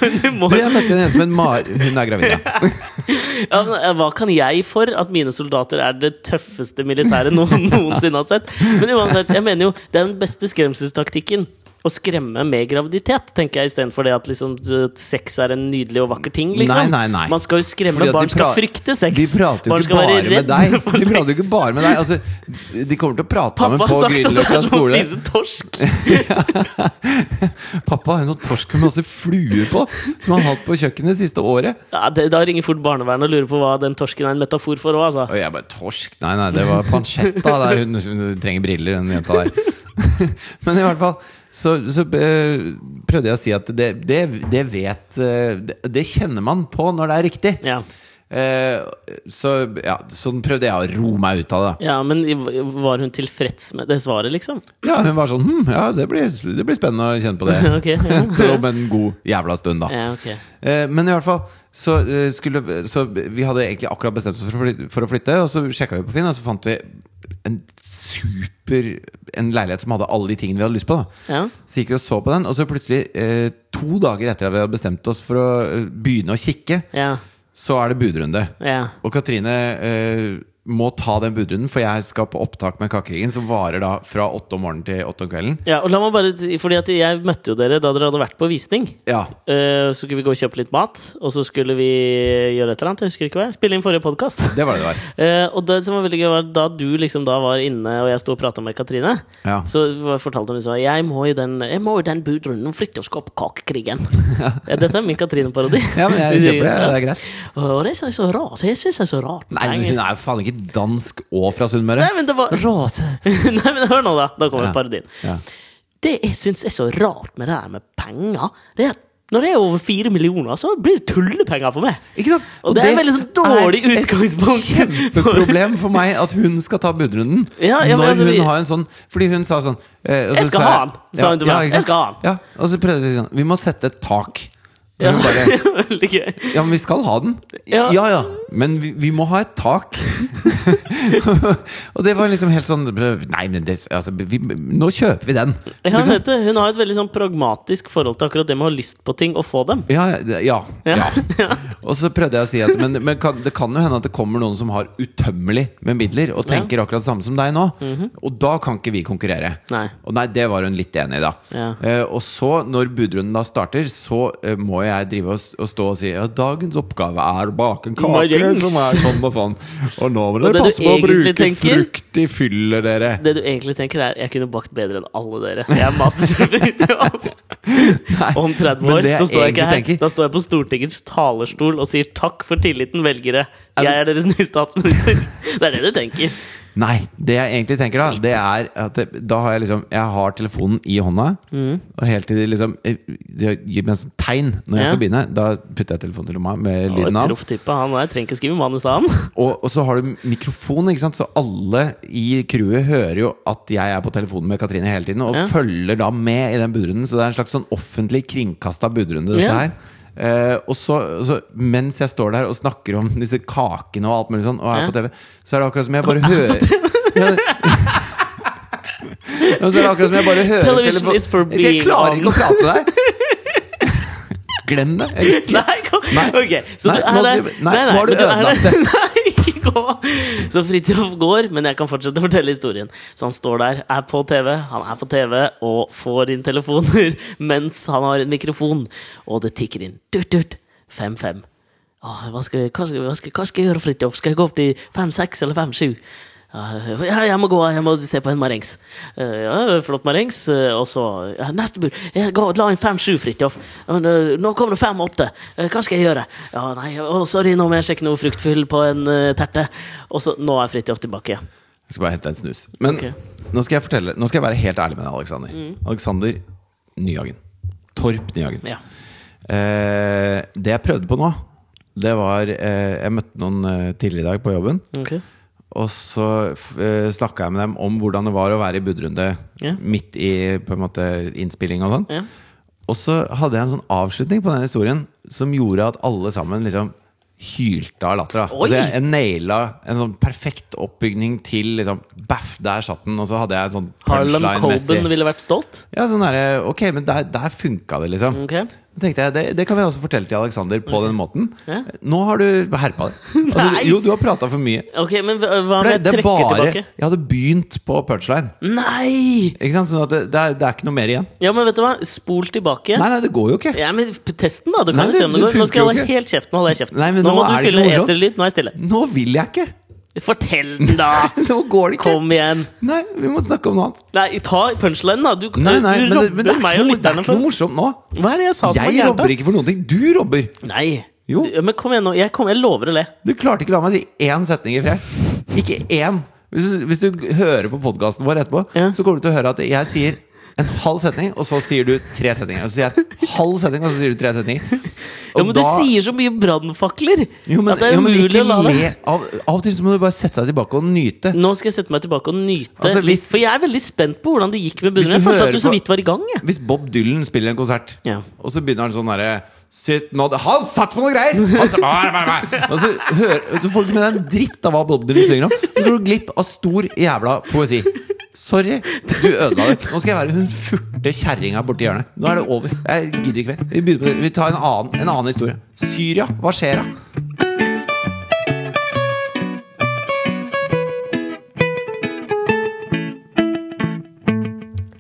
[SPEAKER 1] [laughs] men du må,
[SPEAKER 2] Du, [laughs] jeg møtte en jente som en mar... Hun er gravid,
[SPEAKER 1] [laughs]
[SPEAKER 2] ja.
[SPEAKER 1] ja, men, eh, hva kan jeg for at mine soldater er det tøffeste militæret noen [laughs] noensinne har sett? Men uansett, jeg mener jo det er den beste skremselstaktikken. Å skremme med graviditet, tenker jeg, istedenfor det at liksom, at sex er en nydelig og vakker ting. Liksom.
[SPEAKER 2] Nei, nei, nei.
[SPEAKER 1] Man skal jo skremme.
[SPEAKER 2] Fordi at de
[SPEAKER 1] Barn skal
[SPEAKER 2] pra-
[SPEAKER 1] frykte sex.
[SPEAKER 2] De prater jo
[SPEAKER 1] Barn
[SPEAKER 2] ikke
[SPEAKER 1] skal
[SPEAKER 2] bare
[SPEAKER 1] være
[SPEAKER 2] med
[SPEAKER 1] redd [laughs]
[SPEAKER 2] deg.
[SPEAKER 1] for
[SPEAKER 2] De prater
[SPEAKER 1] sex.
[SPEAKER 2] jo ikke bare med deg. Altså, de kommer til å prate sammen
[SPEAKER 1] Pappa
[SPEAKER 2] på
[SPEAKER 1] har sagt at det
[SPEAKER 2] Grünerløkka
[SPEAKER 1] er som å
[SPEAKER 2] skole.
[SPEAKER 1] spise torsk.
[SPEAKER 2] Pappa har en sånn torsk med masse fluer på, som han har hatt på kjøkkenet det siste året.
[SPEAKER 1] Ja, det, da ringer fort barnevernet og lurer på hva den torsken er en metafor for òg, altså.
[SPEAKER 2] Og jeg bare Torsk? Nei, nei, det var pansjetta. Det er, hun, hun trenger briller, den jenta der. [laughs] Men i hvert fall så, så eh, prøvde jeg å si at det, det, det vet eh, det, det kjenner man på når det er riktig.
[SPEAKER 1] Ja.
[SPEAKER 2] Eh, så ja, sånn prøvde jeg å ro meg ut av det.
[SPEAKER 1] ja, men i- var hun tilfreds med det svaret, liksom?
[SPEAKER 2] Ja, hun var sånn hm, Ja, det blir, det blir spennende å kjenne på det.
[SPEAKER 1] [laughs] Ok,
[SPEAKER 2] [laughs]
[SPEAKER 1] ja.
[SPEAKER 2] Så Om en god jævla stund, da.
[SPEAKER 1] Ja, ok.
[SPEAKER 2] Eh, Men i hvert fall så, eh, skulle, så vi hadde egentlig akkurat bestemt oss for å flytte, for å flytte og så sjekka vi på Finn, og så fant vi en super En leilighet som hadde alle de tingene vi hadde lyst på. Da.
[SPEAKER 1] Ja.
[SPEAKER 2] Så gikk vi og så på den, og så plutselig, eh, to dager etter at vi hadde bestemt oss for å eh, begynne å kikke,
[SPEAKER 1] Ja.
[SPEAKER 2] så er det budrunde.
[SPEAKER 1] Ja.
[SPEAKER 2] Og Katrine eh, må ta den budrunden, for jeg skal på opptak med Kakeringen, som varer da fra åtte om morgenen til åtte om kvelden.
[SPEAKER 1] Ja, og la meg bare si, fordi at Jeg møtte jo dere da dere hadde vært på visning.
[SPEAKER 2] Ja.
[SPEAKER 1] Eh, så skulle vi gå og kjøpe litt mat, og så skulle vi gjøre et eller annet. Jeg husker ikke hva jeg Spille inn forrige podkast. [laughs]
[SPEAKER 2] Det var det det var.
[SPEAKER 1] og det som var veldig gøy, var da du liksom da var inne, og jeg sto og prata med Katrine,
[SPEAKER 2] Ja.
[SPEAKER 1] så var- fortalte hun liksom jeg må i den, jeg må i den budrunden flytte og skape
[SPEAKER 2] [laughs]
[SPEAKER 1] kakekrigen. ja, dette er min Katrine-parodi.
[SPEAKER 2] Ja, men jeg kjøper det.
[SPEAKER 1] [laughs]
[SPEAKER 2] Det er greit.
[SPEAKER 1] Og det synes jeg er så rart. Jeg synes det er så rart.
[SPEAKER 2] Nei, men hun er jo faen ikke dansk og fra Sunnmøre.
[SPEAKER 1] Nei, men det var
[SPEAKER 2] Rase.
[SPEAKER 1] [laughs] Nei, men hør nå, da. Da kommer
[SPEAKER 2] Ja.
[SPEAKER 1] parodien.
[SPEAKER 2] Ja.
[SPEAKER 1] Det jeg syns er så rart med det der med penger, det er at når det er over fire millioner, så blir det tullepenger for meg.
[SPEAKER 2] Ikke sant?
[SPEAKER 1] Og det er veldig sånn dårlig
[SPEAKER 2] er
[SPEAKER 1] utgangspunkt.
[SPEAKER 2] Et kjempeproblem for meg at hun skal ta budrunden.
[SPEAKER 1] Ja, ja, men
[SPEAKER 2] når
[SPEAKER 1] altså, vi-
[SPEAKER 2] hun har en sånn Fordi hun sa sånn eh, og
[SPEAKER 1] Jeg
[SPEAKER 2] så
[SPEAKER 1] skal
[SPEAKER 2] sa
[SPEAKER 1] ha han, sa hun til meg.
[SPEAKER 2] ikke
[SPEAKER 1] Jeg
[SPEAKER 2] sant?
[SPEAKER 1] skal ha han.
[SPEAKER 2] Ja, og så prøvde jeg å si sånn Vi må sette et tak. Og
[SPEAKER 1] Ja.
[SPEAKER 2] Hun
[SPEAKER 1] [laughs]
[SPEAKER 2] bare
[SPEAKER 1] Veldig gøy.
[SPEAKER 2] Ja, men vi skal ha den. Ja
[SPEAKER 1] Ja.
[SPEAKER 2] ja, men vi, vi må ha et tak. [laughs] og det var liksom helt sånn Nei, men det, altså, vi, nå kjøper vi den.
[SPEAKER 1] Ja,
[SPEAKER 2] Liksom.
[SPEAKER 1] vet du, hun har et veldig sånn pragmatisk forhold til akkurat det med å ha lyst på ting og få dem.
[SPEAKER 2] Ja, ja, ja,
[SPEAKER 1] [laughs] Ja.
[SPEAKER 2] ja. Og så prøvde jeg å si at Men, men kan, det kan jo hende at det kommer noen som har utømmelig med midler, og tenker akkurat det samme som deg nå. Og da kan ikke vi konkurrere.
[SPEAKER 1] Mhm. Nei.
[SPEAKER 2] Og nei, det var hun litt enig i, da.
[SPEAKER 1] Ja.
[SPEAKER 2] Eh, og så, når budrunden da starter, så eh, må jeg drive og, s- og stå og si Ja, dagens oppgave er å bake en kake
[SPEAKER 1] Marengs.
[SPEAKER 2] som er sånn og sånn. Og nå må
[SPEAKER 1] Og det
[SPEAKER 2] dere
[SPEAKER 1] du
[SPEAKER 2] passe på å
[SPEAKER 1] egentlig
[SPEAKER 2] bruke
[SPEAKER 1] tenker-
[SPEAKER 2] frukt i fyllet, dere.
[SPEAKER 1] Det du egentlig tenker, er jeg kunne bakt bedre enn alle dere. Jeg er
[SPEAKER 2] [laughs]
[SPEAKER 1] masterchef. Om 30
[SPEAKER 2] men
[SPEAKER 1] år
[SPEAKER 2] det
[SPEAKER 1] så
[SPEAKER 2] jeg
[SPEAKER 1] står jeg ikke her.
[SPEAKER 2] egentlig tenker-
[SPEAKER 1] Da står jeg på Stortingets talerstol og sier takk for tilliten, velgere. Jeg er deres nye statsminister. [laughs] Det er det du tenker.
[SPEAKER 2] Nei, det jeg egentlig tenker da Det er at det, da har jeg liksom Jeg har telefonen i hånda
[SPEAKER 1] Mm.
[SPEAKER 2] Og helt til de liksom eh, de Gir meg en sånn tegn når jeg
[SPEAKER 1] Ja.
[SPEAKER 2] skal begynne Da putter jeg telefonen i lomma med
[SPEAKER 1] Og
[SPEAKER 2] lyden
[SPEAKER 1] et
[SPEAKER 2] av
[SPEAKER 1] proff type. Han er, trenger ikke skrive manus, han.
[SPEAKER 2] [laughs] og, og så har du mikrofon, ikke sant? Så alle i crewet hører jo at jeg er på telefonen med Katrine hele tiden Og
[SPEAKER 1] Ja.
[SPEAKER 2] følger da med i den budrunden Så det er en slags sånn offentlig kringkastet budrunde dette
[SPEAKER 1] Ja.
[SPEAKER 2] her Eh, og så, så mens jeg står der og snakker om disse kakene og alt mulig sånn Og er
[SPEAKER 1] Ja.
[SPEAKER 2] på TV Så er det akkurat som jeg bare hører [laughs] Ja, det- Ja, så er det akkurat som jeg bare hører
[SPEAKER 1] Television
[SPEAKER 2] telefon-
[SPEAKER 1] is for
[SPEAKER 2] Jeg
[SPEAKER 1] being
[SPEAKER 2] klarer
[SPEAKER 1] on.
[SPEAKER 2] ikke å prate med deg Glem det Jeg vil ikke-
[SPEAKER 1] Nei, kom.
[SPEAKER 2] Nei.
[SPEAKER 1] Ok, så
[SPEAKER 2] Nei,
[SPEAKER 1] du er
[SPEAKER 2] nå
[SPEAKER 1] der.
[SPEAKER 2] skal vi- nei, nå har du
[SPEAKER 1] men er
[SPEAKER 2] ødelagt
[SPEAKER 1] der. [laughs] Nei, ikke gå. Så Fridtjof går, men jeg kan fortsette å fortelle historien. Så han står der, er på TV, han er på TV og får inn telefoner [laughs] mens han har en mikrofon, og det tikker inn. Dut, dut. 5-5. Åh, Hva, skal jeg- hva, skal jeg- hva, skal- hva skal jeg gjøre, Fridtjof? Skal jeg gå opp til 5-6 eller 5-7? Ja, ja, jeg må gå, jeg må se på en marengs. Eh, Ja, flott marengs. eh, Og så ja, Neste bud. Jeg ga- la inn 5-7, Fridtjof. Og Nå nå kommer det 5-8. Eh, Hva skal jeg gjøre? Ja, nei, å, sorry, nå må jeg sjekke noe fruktfyll på en eh, terte. Og så Nå er Fridtjof tilbake igjen.
[SPEAKER 2] Jeg skal bare hente en snus. Men
[SPEAKER 1] Ok.
[SPEAKER 2] nå, skal jeg fortelle, nå skal jeg være helt ærlig med deg, Alexander. Alexander Nyhagen. Torp Nyhagen.
[SPEAKER 1] Ja.
[SPEAKER 2] Eh, det jeg prøvde på nå, det var eh, Jeg møtte noen eh, tidligere i dag på jobben.
[SPEAKER 1] Ok.
[SPEAKER 2] Og så eh, snakka jeg med dem om hvordan det var å være i budrunde
[SPEAKER 1] Ja.
[SPEAKER 2] midt i på en måte, innspilling og sånn.
[SPEAKER 1] Ja.
[SPEAKER 2] Og så hadde jeg en sånn avslutning på den historien som gjorde at alle sammen liksom hylte av latter. da.
[SPEAKER 1] Oi!
[SPEAKER 2] Altså jeg, jeg naila en sånn perfekt oppbygning til liksom Baff, der satt den! Og så hadde jeg en sånn
[SPEAKER 1] Harlem Coben
[SPEAKER 2] punchline-messig
[SPEAKER 1] ville vært stolt.
[SPEAKER 2] Ja, sånn derre Ok, men der, der funka det, liksom.
[SPEAKER 1] Ok.
[SPEAKER 2] Da tenkte jeg, det, det kan jeg også fortelle til Alexander på den måten.
[SPEAKER 1] Ja.
[SPEAKER 2] Nå har du herpa
[SPEAKER 1] [laughs]
[SPEAKER 2] det. Altså,
[SPEAKER 1] Nei!
[SPEAKER 2] jo, du har prata for mye.
[SPEAKER 1] Ok, men hva hva om
[SPEAKER 2] For det,
[SPEAKER 1] jeg
[SPEAKER 2] det er
[SPEAKER 1] trekker
[SPEAKER 2] bare
[SPEAKER 1] tilbake?
[SPEAKER 2] Jeg hadde begynt på punchline.
[SPEAKER 1] Nei!
[SPEAKER 2] Ikke sant? Sånn at det, det, er, det er ikke noe mer igjen.
[SPEAKER 1] Ja, men vet du hva? Spol tilbake.
[SPEAKER 2] Nei, nei, det går jo ikke.
[SPEAKER 1] Ja, men p- testen, da. Du
[SPEAKER 2] Nei,
[SPEAKER 1] kan jo se
[SPEAKER 2] det-
[SPEAKER 1] om det
[SPEAKER 2] det
[SPEAKER 1] går. Nå skal jeg
[SPEAKER 2] funker jo
[SPEAKER 1] holde
[SPEAKER 2] ikke.
[SPEAKER 1] helt kjeft. Nå holder jeg kjeft.
[SPEAKER 2] Nei, men
[SPEAKER 1] nå,
[SPEAKER 2] nå
[SPEAKER 1] må
[SPEAKER 2] er
[SPEAKER 1] du
[SPEAKER 2] det ikke
[SPEAKER 1] fylle
[SPEAKER 2] morsomt.
[SPEAKER 1] eterlyd. Nå er jeg stille.
[SPEAKER 2] Nå vil jeg ikke! [laughs]
[SPEAKER 1] Fortell den, da!
[SPEAKER 2] Nå går det ikke!
[SPEAKER 1] Kom igjen.
[SPEAKER 2] Nei, vi må snakke om noe annet.
[SPEAKER 1] Nei, ta punchlinen, da. Du,
[SPEAKER 2] Nei, nei,
[SPEAKER 1] du
[SPEAKER 2] men det,
[SPEAKER 1] robber
[SPEAKER 2] men det, er,
[SPEAKER 1] meg og
[SPEAKER 2] ikke noe, det er
[SPEAKER 1] lytterne
[SPEAKER 2] ikke noe
[SPEAKER 1] for
[SPEAKER 2] morsomt nå.
[SPEAKER 1] Hva er det jeg sa som var
[SPEAKER 2] Jeg
[SPEAKER 1] gærent?
[SPEAKER 2] robber
[SPEAKER 1] da?
[SPEAKER 2] ikke for noen ting. Du robber!
[SPEAKER 1] Nei.
[SPEAKER 2] Jo.
[SPEAKER 1] Du- Men kom igjen nå. Jeg, kom, jeg lover å le.
[SPEAKER 2] Du klarte ikke å la meg si én setning i fred. Ikke én! Hvis du, hvis du hører på podkasten vår etterpå,
[SPEAKER 1] Ja.
[SPEAKER 2] så kommer du til å høre at jeg sier en halv setning, og så sier du tre setninger. Og så sier jeg halv setning, og så sier du tre setninger.
[SPEAKER 1] Ja, men du sier så mye brannfakler
[SPEAKER 2] jo, men,
[SPEAKER 1] at det er
[SPEAKER 2] jo, men
[SPEAKER 1] umulig
[SPEAKER 2] ikke
[SPEAKER 1] å la det
[SPEAKER 2] le. Av, av og til så må du bare sette deg tilbake og nyte.
[SPEAKER 1] Nå skal jeg sette meg tilbake og nyte.
[SPEAKER 2] Altså,
[SPEAKER 1] litt,
[SPEAKER 2] hvis-
[SPEAKER 1] for jeg er veldig spent på hvordan det gikk med bunnen.
[SPEAKER 2] Hvis
[SPEAKER 1] Jeg
[SPEAKER 2] du
[SPEAKER 1] følte at
[SPEAKER 2] hører
[SPEAKER 1] du så
[SPEAKER 2] på-
[SPEAKER 1] vidt var i gang. Jeg.
[SPEAKER 2] Hvis Bob Dylan spiller en konsert,
[SPEAKER 1] Ja.
[SPEAKER 2] og så begynner han sånn derre «Sitt nå- Han satt på noe greier! Han satt, Nei, nei, nei. Og så, hører, så får du ikke med deg en dritt av hva Bob Dylan synger om. Så går du glipp av stor jævla poesi. Sorry, du ødela det. Nå skal jeg være hun furte kjerringa borti hjørnet. Nå er det over. Jeg gidder ikke mer. Vi, begynner på det. Vi tar en annen, en annen historie. Syria, hva skjer da?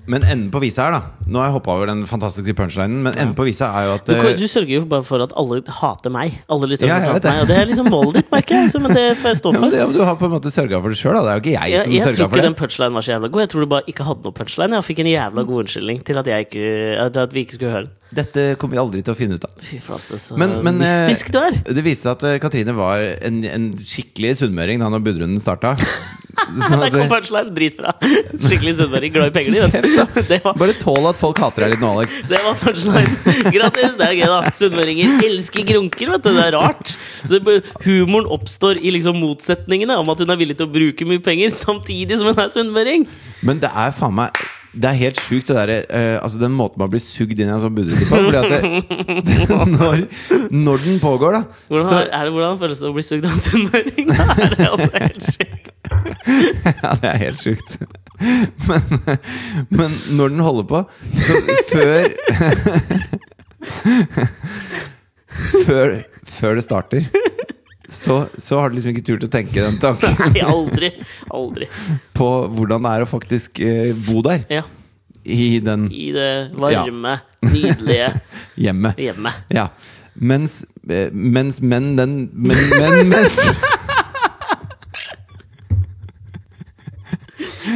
[SPEAKER 2] Men enden på visa her, da Nå har jeg hoppa over den fantastiske punchlinen, men enden på visa er jo at
[SPEAKER 1] Du, kan-
[SPEAKER 2] eh,
[SPEAKER 1] du sørger jo bare for at alle hater meg. Alle lytter
[SPEAKER 2] Ja, jeg vet
[SPEAKER 1] hater
[SPEAKER 2] det.
[SPEAKER 1] meg Og det er liksom målet ditt, merker jeg. Så, men det får jeg stå
[SPEAKER 2] ja, men,
[SPEAKER 1] for.
[SPEAKER 2] det- ja, men Du har på en måte sørga for det sjøl, da. Det er jo ikke jeg
[SPEAKER 1] Jeg, jeg
[SPEAKER 2] som
[SPEAKER 1] tror
[SPEAKER 2] sørga
[SPEAKER 1] ikke
[SPEAKER 2] for det.
[SPEAKER 1] den punchlinen var så jævla god. Jeg tror du bare ikke hadde noe punchline. Jeg fikk en jævla god unnskyldning til at, jeg ikke, at at vi ikke skulle høre den.
[SPEAKER 2] Dette kommer vi aldri til å finne ut av.
[SPEAKER 1] Fy flate, så
[SPEAKER 2] Men, men eh,
[SPEAKER 1] mystisk
[SPEAKER 2] [laughs]
[SPEAKER 1] du er!
[SPEAKER 2] det viste seg at eh, Katrine var en, en skikkelig sunnmøring da når budrunden starta.
[SPEAKER 1] [laughs]
[SPEAKER 2] Sånn
[SPEAKER 1] Der
[SPEAKER 2] at,
[SPEAKER 1] kom
[SPEAKER 2] eh,
[SPEAKER 1] punchline. Dritbra. Skikkelig sunnmøring. Glad i penger, de, vet du. [laughs] Det var
[SPEAKER 2] Bare tål at folk hater deg litt nå, Alex.
[SPEAKER 1] Det var punchline. Grattis! Det er gøy, da. Sunnmøringer elsker grunker, vet du. Det er rart. Så det bør- humoren oppstår i liksom motsetningene om at hun er villig til å bruke mye penger samtidig som hun er sunnmøring.
[SPEAKER 2] Men det er faen meg det er helt sjukt, det der, eh, altså den måten man blir sugd inn i en sånn budrunde på. Fordi at det, [laughs] når, når den pågår, da
[SPEAKER 1] Hvordan,
[SPEAKER 2] så,
[SPEAKER 1] er det, hvordan føles det å bli sugd av en sunnmøring? [laughs] Er det altså helt sjukt?
[SPEAKER 2] [laughs] Ja, det er helt sjukt. [laughs] Men, men når den holder på, så før [laughs] Før, før det starter, så, så har du liksom ikke tur til å tenke den tanken
[SPEAKER 1] Nei, aldri. Aldri.
[SPEAKER 2] på hvordan det er å faktisk eh, bo der.
[SPEAKER 1] Ja.
[SPEAKER 2] I den
[SPEAKER 1] I det
[SPEAKER 2] [laughs]
[SPEAKER 1] varme, nydelige
[SPEAKER 2] hjemmet.
[SPEAKER 1] hjemmet.
[SPEAKER 2] Ja. Mens, eh, mens menn den Men, men, men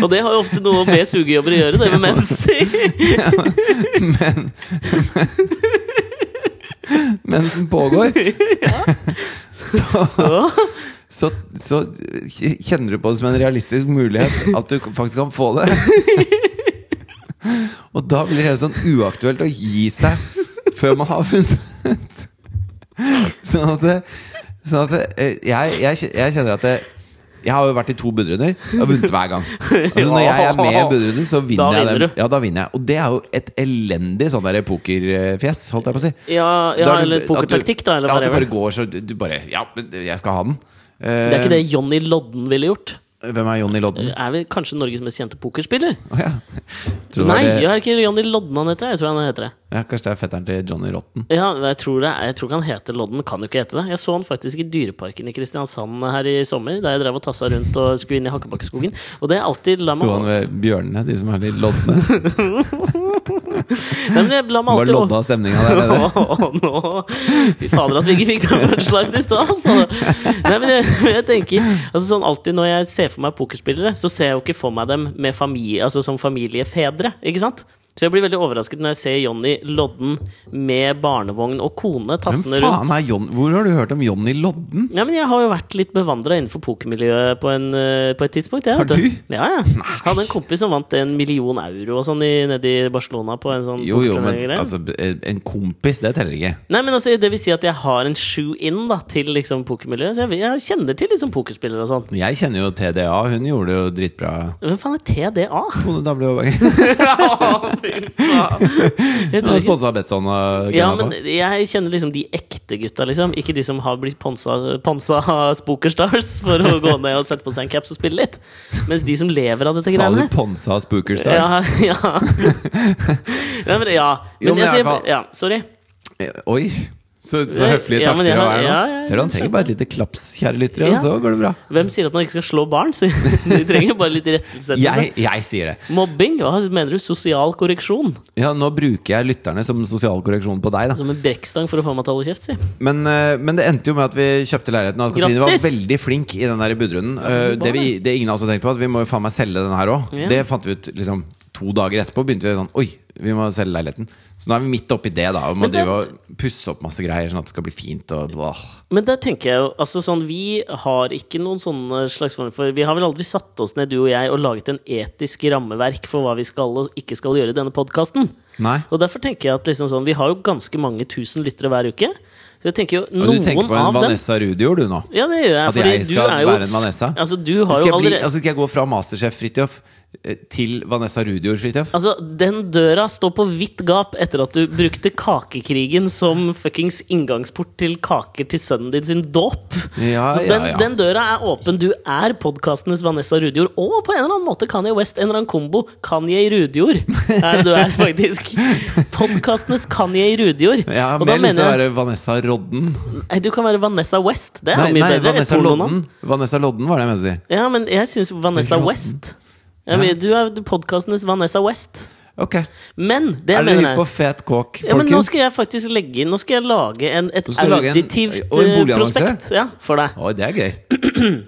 [SPEAKER 1] Og det har jo ofte noe med sugejobber å gjøre, det med mens.
[SPEAKER 2] mens den
[SPEAKER 1] [laughs]
[SPEAKER 2] pågår, så,
[SPEAKER 1] Så,
[SPEAKER 2] så, så kjenner du på det som en realistisk mulighet at du faktisk kan få
[SPEAKER 1] [laughs]
[SPEAKER 2] det. Og da blir det helt sånn uaktuelt å gi seg før man har funnet [laughs] Sånn at, det, sånn at det, eh, jeg, jeg, jeg kjenner at det, jeg har jo vært i to budrunder. Jeg har vunnet hver gang. Altså, når jeg er med i budrunden, så vinner,
[SPEAKER 1] Da
[SPEAKER 2] jeg
[SPEAKER 1] vinner
[SPEAKER 2] dem.
[SPEAKER 1] du.
[SPEAKER 2] Ja, da vinner jeg. Og det er jo et elendig sånn der pokerfjes, holdt jeg på å si.
[SPEAKER 1] [laughs] ja,
[SPEAKER 2] Da
[SPEAKER 1] ja
[SPEAKER 2] er du-
[SPEAKER 1] eller
[SPEAKER 2] at du-
[SPEAKER 1] pokertaktikk, da. Eller
[SPEAKER 2] ja, at du
[SPEAKER 1] whatever.
[SPEAKER 2] bare går så du du bare Ja, men jeg skal ha den. Eh,
[SPEAKER 1] Det er ikke det Johnny Lodden ville gjort.
[SPEAKER 2] Hvem er Johnny Lodden?
[SPEAKER 1] Er vel kanskje Norges mest kjente pokerspiller?
[SPEAKER 2] Å
[SPEAKER 1] [laughs]
[SPEAKER 2] ja. Tror det var
[SPEAKER 1] Nei,
[SPEAKER 2] det-
[SPEAKER 1] jeg er ikke Johnny Lodden han heter. Jeg tror han heter det.
[SPEAKER 2] ja, Kanskje det er fetteren til Johnny Rotten.
[SPEAKER 1] Ja, jeg tror, det er, jeg tror ikke han heter Lodden. Kan jo ikke hete det. Jeg så han faktisk i Dyreparken i Kristiansand her i sommer, da jeg drev og tassa rundt og skulle inn i Hakkebakkeskogen. Og det er alltid La
[SPEAKER 2] Sto han
[SPEAKER 1] meg,
[SPEAKER 2] ved bjørnene, de som er litt
[SPEAKER 1] [laughs]
[SPEAKER 2] lodne?
[SPEAKER 1] Nei, men jeg- la meg
[SPEAKER 2] Bare
[SPEAKER 1] alltid
[SPEAKER 2] lodda av stemninga der
[SPEAKER 1] [laughs]
[SPEAKER 2] nede.
[SPEAKER 1] Åh, nå Fy fader at vi ikke fikk den punchlinen i stad, altså. Nei, men jeg, men jeg tenker altså, sånn Alltid når jeg ser for meg pokerspillere, så ser jeg jo ikke for meg dem med familie, altså, som familiefedre. Ikke sant? Så jeg blir veldig overrasket når jeg ser Johnny Lodden med barnevogn og kone tassende
[SPEAKER 2] Hvem
[SPEAKER 1] rundt.
[SPEAKER 2] faen er John, Hvor har du hørt om Johnny Lodden?
[SPEAKER 1] Ja, men jeg har jo vært litt bevandra innenfor pokermiljøet på, en, eh, på et tidspunkt. Jeg,
[SPEAKER 2] Har
[SPEAKER 1] vet
[SPEAKER 2] du?
[SPEAKER 1] Ja, ja. Jeg hadde en kompis som vant en million euro og sånn i- nede i Barcelona på en sånn
[SPEAKER 2] Jo, jo, men
[SPEAKER 1] pokerturnering.
[SPEAKER 2] altså, en kompis, det teller ikke.
[SPEAKER 1] Nei, men altså, Det vil si at jeg har en shoe-in da, til liksom, pokermiljøet. Så jeg, jeg kjenner til liksom, pokerspillere og sånn.
[SPEAKER 2] Jeg kjenner jo TDA, hun gjorde det jo dritbra.
[SPEAKER 1] Hvem faen er TDA?
[SPEAKER 2] Tone Damli
[SPEAKER 1] [laughs]
[SPEAKER 2] Aabak.
[SPEAKER 1] jeg tror ikke.
[SPEAKER 2] Sponsa av Betson og
[SPEAKER 1] Ja,
[SPEAKER 2] Gunnar
[SPEAKER 1] men
[SPEAKER 2] på.
[SPEAKER 1] jeg kjenner liksom de ekte gutta, liksom. Ikke de som har blitt ponsa, ponsa av Spokerstars for å gå ned og sette på seg en caps og spille litt. Mens de som lever av dette
[SPEAKER 2] Sa
[SPEAKER 1] greiene
[SPEAKER 2] du
[SPEAKER 1] her
[SPEAKER 2] Ponsa og Spooker Stars?
[SPEAKER 1] Ja, ja. [laughs] ja, men, ja. men
[SPEAKER 2] Jo,
[SPEAKER 1] jeg
[SPEAKER 2] men i hvert
[SPEAKER 1] sier
[SPEAKER 2] fall-
[SPEAKER 1] ja, Sorry.
[SPEAKER 2] Eh, Oi! Så, så
[SPEAKER 1] Ja,
[SPEAKER 2] høflige
[SPEAKER 1] ja, men
[SPEAKER 2] takter
[SPEAKER 1] jeg
[SPEAKER 2] å
[SPEAKER 1] har-
[SPEAKER 2] være nå.
[SPEAKER 1] ja, ja,
[SPEAKER 2] Ser du, han
[SPEAKER 1] jeg
[SPEAKER 2] trenger bare et lite klaps, kjære lyttere,
[SPEAKER 1] Ja.
[SPEAKER 2] og så går det bra.
[SPEAKER 1] Hvem sier at man ikke skal slå barn? Så [laughs] de trenger bare litt liksom. rettelsettelse.
[SPEAKER 2] Jeg, jeg sier det.
[SPEAKER 1] Mobbing? Hva mener du? Sosial korreksjon?
[SPEAKER 2] Ja, nå bruker jeg lytterne som sosial korreksjon på deg, da.
[SPEAKER 1] Som en brekkstang for å få meg til å holde kjeft, si.
[SPEAKER 2] Men, eh, men det endte jo med at vi kjøpte leiligheten, og at Katrine var
[SPEAKER 1] Grattis!
[SPEAKER 2] veldig flink i den der budrunden. Eh,
[SPEAKER 1] var
[SPEAKER 2] Det, vi, det ingen av oss har tenkt på, at vi må jo faen meg selge den her òg.
[SPEAKER 1] Ja.
[SPEAKER 2] Det fant vi ut liksom to dager etterpå. Begynte vi sånn Oi, vi må selge leiligheten. Så nå er vi midt oppi det, da. Og må
[SPEAKER 1] Men det-
[SPEAKER 2] drive og pusse opp masse greier, sånn at det skal bli fint og blah.
[SPEAKER 1] Men der tenker jeg jo altså sånn, Vi har ikke noen sånne slags form for Vi har vel aldri satt oss ned, du og jeg, og laget en etisk rammeverk for hva vi skal og ikke skal gjøre i denne podkasten.
[SPEAKER 2] Nei.
[SPEAKER 1] Og derfor tenker jeg at liksom sånn, Vi har jo ganske mange tusen lyttere hver uke. Så jeg tenker jo
[SPEAKER 2] Og
[SPEAKER 1] noen
[SPEAKER 2] du tenker på en
[SPEAKER 1] av dem
[SPEAKER 2] Vanessa Rudior, du nå?
[SPEAKER 1] ja, det gjør jeg,
[SPEAKER 2] At
[SPEAKER 1] fordi
[SPEAKER 2] jeg
[SPEAKER 1] du
[SPEAKER 2] skal
[SPEAKER 1] er jo,
[SPEAKER 2] være en Vanessa?
[SPEAKER 1] Altså, du har
[SPEAKER 2] Skal
[SPEAKER 1] jo
[SPEAKER 2] jeg, bli,
[SPEAKER 1] allerede
[SPEAKER 2] altså skal jeg gå fra masterchef Fridtjof eh, til Vanessa Rudior Fridtjof?
[SPEAKER 1] Altså, Den døra står på vidt gap etter at du brukte kakekrigen som fuckings inngangsport til kaker til sønnen din sin dåp.
[SPEAKER 2] Ja,
[SPEAKER 1] Så
[SPEAKER 2] ja,
[SPEAKER 1] den,
[SPEAKER 2] ja.
[SPEAKER 1] den døra er åpen. Du er podkastenes Vanessa Rudjord. Og på en eller annen måte Kanye West. En eller annen kombo. Kanye Rudjord er det du er, faktisk. Podkastenes Kanye Rudjord.
[SPEAKER 2] Jeg har
[SPEAKER 1] og da
[SPEAKER 2] mer lyst til å
[SPEAKER 1] mener jeg
[SPEAKER 2] være Vanessa Rodden.
[SPEAKER 1] Nei, Du kan være Vanessa West. Det er
[SPEAKER 2] Nei,
[SPEAKER 1] jo mye
[SPEAKER 2] nei
[SPEAKER 1] bedre.
[SPEAKER 2] Vanessa
[SPEAKER 1] Et polonavn.
[SPEAKER 2] Lodden. Vanessa Lodden var det jeg mente å si.
[SPEAKER 1] Ja, men jeg syns Vanessa
[SPEAKER 2] Lodden.
[SPEAKER 1] West. Ja, men, du er podkastenes Vanessa West.
[SPEAKER 2] Ok.
[SPEAKER 1] Men det
[SPEAKER 2] Er
[SPEAKER 1] jeg
[SPEAKER 2] dere
[SPEAKER 1] mener
[SPEAKER 2] hypp på fet kåk,
[SPEAKER 1] ja, men nå
[SPEAKER 2] folkens?
[SPEAKER 1] skal jeg faktisk legge inn Nå skal jeg lage en, et
[SPEAKER 2] skal du lage en-
[SPEAKER 1] auditivt
[SPEAKER 2] og en
[SPEAKER 1] eh,
[SPEAKER 2] boligannonse?
[SPEAKER 1] prospekt ja, for deg.
[SPEAKER 2] Oi, det er gøy.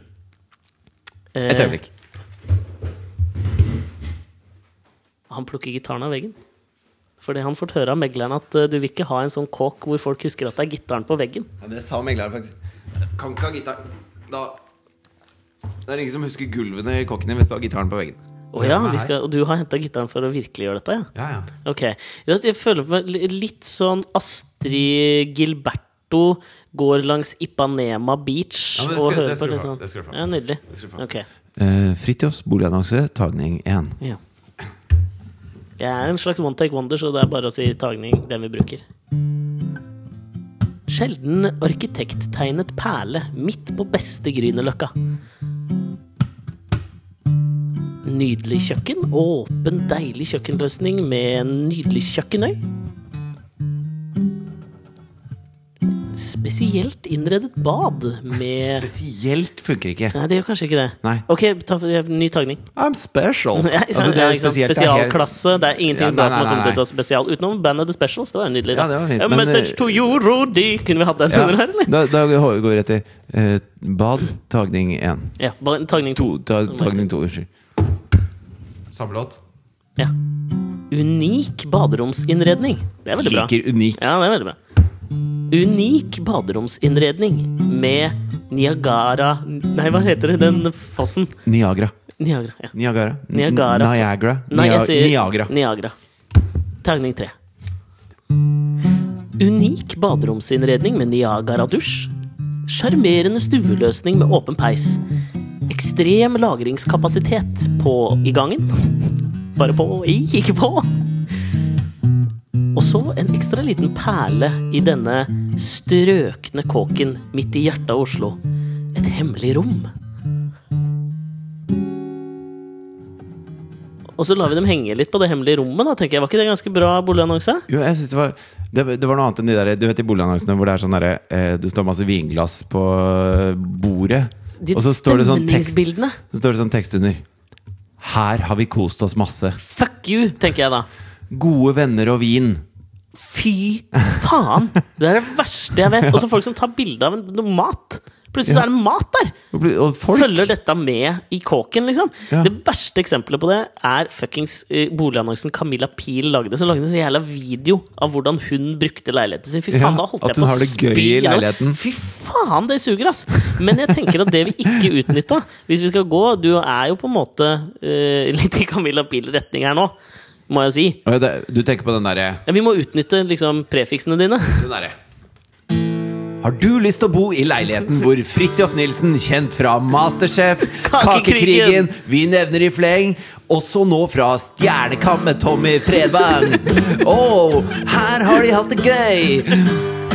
[SPEAKER 2] Et
[SPEAKER 1] Eh,
[SPEAKER 2] øyeblikk.
[SPEAKER 1] Han plukker gitaren av veggen. Fordi han får høre av megleren at eh, du vil ikke ha en sånn kåk hvor folk husker at det er gitaren på veggen.
[SPEAKER 2] Ja, det sa megleren faktisk. Kan ikke ha gitar da. Det er ingen som husker gulvene i kåken din hvis du har gitaren på veggen.
[SPEAKER 1] Å ja,
[SPEAKER 2] Hvem er
[SPEAKER 1] vi
[SPEAKER 2] her?
[SPEAKER 1] skal, og du har henta gitaren for å virkelig gjøre dette? ja?
[SPEAKER 2] Ja, ja.
[SPEAKER 1] Ok. Jeg vet, Jeg føler meg li- litt sånn Astrid Gilberto går langs Ipanema Beach
[SPEAKER 2] Ja, men det
[SPEAKER 1] og
[SPEAKER 2] skal-
[SPEAKER 1] hører
[SPEAKER 2] det skal
[SPEAKER 1] på
[SPEAKER 2] du
[SPEAKER 1] litt
[SPEAKER 2] få.
[SPEAKER 1] sånn.
[SPEAKER 2] Det skal du få.
[SPEAKER 1] Ja, nydelig.
[SPEAKER 2] Det skal du få.
[SPEAKER 1] Ok.
[SPEAKER 2] Eh, Fridtjofs boligannonse, tagning 1.
[SPEAKER 1] Ja. Jeg er en slags one take wonder, så det er bare å si tagning, den vi bruker. Sjelden arkitekttegnet perle midt på beste Grünerløkka. Nydelig kjøkken. Åpen, deilig kjøkkenløsning med en nydelig kjøkkenøy. Spesielt innredet bad med
[SPEAKER 2] Spesielt funker ikke.
[SPEAKER 1] Nei, det gjør kanskje ikke det.
[SPEAKER 2] Nei.
[SPEAKER 1] Ok, ta ny tagning.
[SPEAKER 2] I'm
[SPEAKER 1] [laughs]
[SPEAKER 2] special.
[SPEAKER 1] Ja, ikke sant? Ja, ikke sant?
[SPEAKER 2] spesielt, Altså, det er helt-
[SPEAKER 1] Spesialklasse. Det er ingenting
[SPEAKER 2] Ja, nei,
[SPEAKER 1] bra som har
[SPEAKER 2] nei,
[SPEAKER 1] kommet
[SPEAKER 2] nei.
[SPEAKER 1] ut av spesial. Utenom bandet The Specials. Det var jo nydelig. da.
[SPEAKER 2] Ja, det var fint,
[SPEAKER 1] A
[SPEAKER 2] men,
[SPEAKER 1] message
[SPEAKER 2] eh,
[SPEAKER 1] to you, Rodi. Kunne vi hatt den under her, eller?
[SPEAKER 2] Ja, da, da går vi rett til eh, bad, tagning 1.
[SPEAKER 1] Ja, bare en tagning to.
[SPEAKER 2] To, ta, tagning 2, unnskyld. Samme låt.
[SPEAKER 1] Ja. Unik baderomsinnredning. Det er veldig bra.
[SPEAKER 2] Liker unik.
[SPEAKER 1] Ja, det er veldig bra. Unik baderomsinnredning med Niagara Nei, hva heter det? Den fossen?
[SPEAKER 2] Niagara.
[SPEAKER 1] Niagara. ja.
[SPEAKER 2] Niagara. N-
[SPEAKER 1] Niagara.
[SPEAKER 2] Niagara.
[SPEAKER 1] Nei, jeg
[SPEAKER 2] Nia-
[SPEAKER 1] sier
[SPEAKER 2] Niagara.
[SPEAKER 1] Niagara. Tagning tre. Unik baderomsinnredning med Niagara-dusj. Sjarmerende stueløsning med åpen peis. Ekstrem lagringskapasitet på i gangen. Bare på i, ikke på. Og så en ekstra liten perle i denne strøkne kåken midt i hjertet av Oslo. Et hemmelig rom. Og så lar vi dem henge litt på det hemmelige rommet. da, tenker jeg. Var ikke det en ganske bra boligannonse?
[SPEAKER 2] Jo, jeg synes det var det, det var noe annet enn de der Du vet de boligannonsene hvor det er sånn derre eh, Det står masse vinglass på eh, bordet,
[SPEAKER 1] De
[SPEAKER 2] og så står, det sånn tekst,
[SPEAKER 1] stemningsbildene.
[SPEAKER 2] så står det sånn tekst under. Her har vi kost oss masse.
[SPEAKER 1] Fuck you, tenker jeg da.
[SPEAKER 2] Gode venner og vin.
[SPEAKER 1] Fy faen! Det er det verste jeg vet. Og så folk som tar bilde av en- noe mat. Plutselig så er det mat der!
[SPEAKER 2] Og bli- og folk.
[SPEAKER 1] Følger dette med i kåken, liksom.
[SPEAKER 2] Ja.
[SPEAKER 1] Det verste eksempelet på det er fuckings eh, boligannonsen Camilla Pil lagde. Som lagde en så jævla video av hvordan hun brukte leiligheten sin. Fy
[SPEAKER 2] Ja,
[SPEAKER 1] faen, da holdt
[SPEAKER 2] at
[SPEAKER 1] jeg
[SPEAKER 2] hun
[SPEAKER 1] på
[SPEAKER 2] har
[SPEAKER 1] å
[SPEAKER 2] det gøy i
[SPEAKER 1] spy nå.
[SPEAKER 2] leiligheten.
[SPEAKER 1] Fy faen, det suger, ass! Men jeg tenker at det vi ikke utnytta Hvis vi skal gå Du er jo på en måte eh, litt i Camilla Pil-retning her nå, må jeg jo si.
[SPEAKER 2] Og det, du tenker på den derre
[SPEAKER 1] Ja, vi må utnytte liksom prefiksene dine.
[SPEAKER 2] Den derre. Har du lyst til å bo i leiligheten hvor Fridtjof Nilsen, kjent fra Masterchef,
[SPEAKER 1] [laughs] Kakekrigen.
[SPEAKER 2] Kakekrigen, Vi nevner i fleng, også nå fra Stjernekamp med Tommy
[SPEAKER 1] [laughs]
[SPEAKER 2] Fredvang? Å, her har de hatt det gøy!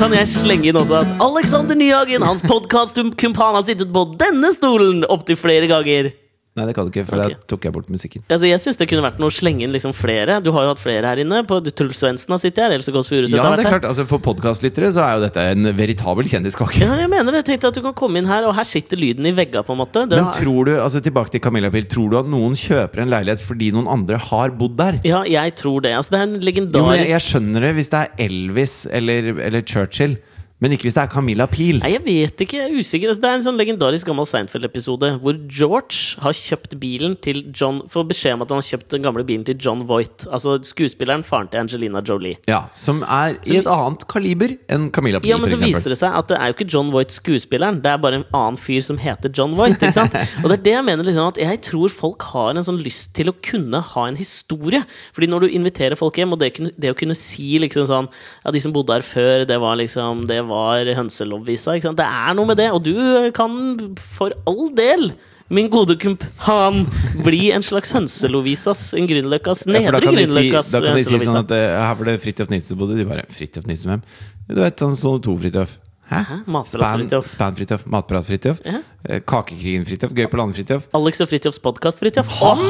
[SPEAKER 1] Kan jeg slenge inn også at Alexander Nyhagen, hans podkastkumpan, har sittet på denne stolen opptil flere ganger.
[SPEAKER 2] Nei, det kan du ikke, for
[SPEAKER 1] Ok.
[SPEAKER 2] da tok jeg bort musikken.
[SPEAKER 1] Altså, jeg syns det kunne vært noe å slenge inn liksom flere. Du har jo hatt flere her inne. På, Truls Svendsen har sittet her. Else Kåss Furuseth
[SPEAKER 2] Ja,
[SPEAKER 1] har vært
[SPEAKER 2] det er
[SPEAKER 1] her.
[SPEAKER 2] klart, altså For podkastlyttere så er jo dette en veritabel kjendiskake.
[SPEAKER 1] Ja, jeg mener det. Tenkte at du kan komme inn her, og her sitter lyden i vegga, på en måte. Dere
[SPEAKER 2] Men
[SPEAKER 1] har-
[SPEAKER 2] tror du altså tilbake til Camilla Pil, tror du at noen kjøper en leilighet fordi noen andre har bodd der?
[SPEAKER 1] Ja, jeg tror det. Altså, det er en
[SPEAKER 2] Jo, men
[SPEAKER 1] legendarisk
[SPEAKER 2] jeg, jeg skjønner det hvis det er Elvis eller, eller Churchill, men ikke hvis det er Camilla Pil.
[SPEAKER 1] Nei, jeg vet ikke. Jeg er usikker. Altså, det er en sånn legendarisk gammel Seinfeld-episode hvor George har kjøpt bilen til John Får beskjed om at han har kjøpt den gamle bilen til John Voight. Altså skuespilleren, faren til Angelina Jolie.
[SPEAKER 2] Ja, Som er i et annet kaliber enn Camilla Pil,
[SPEAKER 1] Ja, men så viser det seg at det er jo ikke John Voight skuespilleren, det er bare en annen fyr som heter John Voight. Ikke
[SPEAKER 2] [laughs]
[SPEAKER 1] sant? Og det er det jeg mener, liksom, at jeg tror folk har en sånn lyst til å kunne ha en historie. Fordi når du inviterer folk hjem, og det, kunne- det å kunne si liksom sånn Ja, de som bodde her før, det var liksom Det var hønselovvisa, ikke sant. Det er noe med det, og du kan for all del Min gode kumpan bli en slags hønselovisas, en Grünerløkkas,
[SPEAKER 2] Ja, for da
[SPEAKER 1] nedre
[SPEAKER 2] kan de si,
[SPEAKER 1] Grünerløkkas
[SPEAKER 2] da kan de si
[SPEAKER 1] hønselovisa.
[SPEAKER 2] sånn at eh, her var det Fridtjof Nilsen som bodde. De bare Fridtjof Nilsen, hvem? Du vet, han så to Fridtjof. Hæ?
[SPEAKER 1] Hæ? Matprat
[SPEAKER 2] Span-
[SPEAKER 1] Fridtjof.
[SPEAKER 2] Span Fridtjof, Matprat Fridtjof,
[SPEAKER 1] Ja.
[SPEAKER 2] eh, Kakekrigen Fridtjof, Gøy på landet Fridtjof.
[SPEAKER 1] Alex og Fridtjofs podkast, Fridtjof. Han,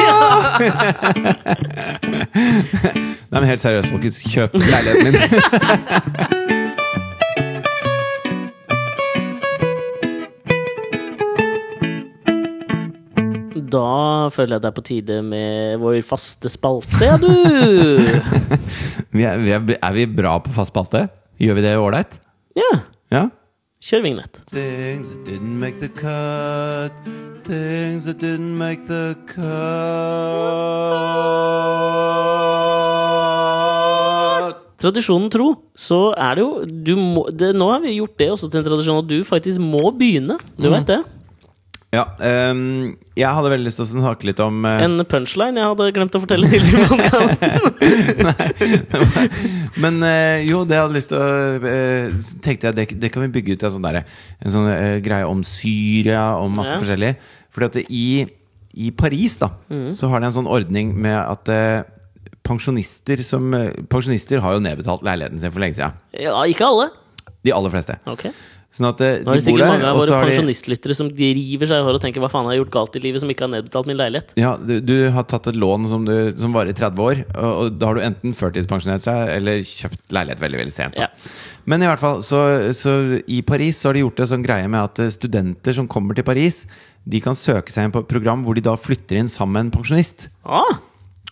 [SPEAKER 1] ja!
[SPEAKER 2] Nei, men helt seriøst, folkens. Kjøp leiligheten min. [laughs]
[SPEAKER 1] Da føler jeg det er på tide med vår faste spalte, ja,
[SPEAKER 2] [laughs]
[SPEAKER 1] du!
[SPEAKER 2] Vi er, vi er, er vi bra på fast spalte? Gjør vi det ålreit?
[SPEAKER 1] Ja,
[SPEAKER 2] Ja?
[SPEAKER 1] kjør vignett.
[SPEAKER 2] Things that didn't make the cut. Things that didn't make the cut.
[SPEAKER 1] Tradisjonen tro, så er det jo du må, det, Nå har vi gjort det også til en tradisjon at du faktisk må begynne. Du
[SPEAKER 2] Mm.
[SPEAKER 1] vet det?
[SPEAKER 2] Ja, ehm, jeg hadde veldig lyst til å snakke litt om eh,
[SPEAKER 1] En punchline jeg hadde glemt å fortelle til i podkasten.
[SPEAKER 2] [laughs] Men eh, jo, det jeg hadde lyst til å eh, Tenkte jeg, det, det kan vi bygge ut til en sånn, derre- en sånn eh, greie om Syria og masse
[SPEAKER 1] Ja.
[SPEAKER 2] forskjellig. Fordi at det, i, i Paris da
[SPEAKER 1] Mm.
[SPEAKER 2] så har de en sånn ordning med at eh, pensjonister som eh, Pensjonister har jo nedbetalt leiligheten sin for lenge siden.
[SPEAKER 1] Ja, ikke alle.
[SPEAKER 2] De aller fleste.
[SPEAKER 1] Ok
[SPEAKER 2] Sånn at eh,
[SPEAKER 1] Nå er det
[SPEAKER 2] de bor
[SPEAKER 1] sikkert
[SPEAKER 2] der,
[SPEAKER 1] mange av
[SPEAKER 2] og
[SPEAKER 1] våre
[SPEAKER 2] så har de
[SPEAKER 1] pensjonistlyttere som river seg i håret og tenker 'hva faen har jeg gjort galt i livet som ikke har nedbetalt min leilighet'?
[SPEAKER 2] ja, du, du har tatt et lån som, du, som varer i 30 år, og, og da har du enten førtidspensjonert seg eller kjøpt leilighet veldig veldig sent. Da.
[SPEAKER 1] Ja.
[SPEAKER 2] Men i hvert fall, så, så i Paris så har de gjort en sånn greie med at eh, studenter som kommer til Paris, de kan søke seg inn på et program hvor de da flytter inn sammen med en pensjonist.
[SPEAKER 1] Ah,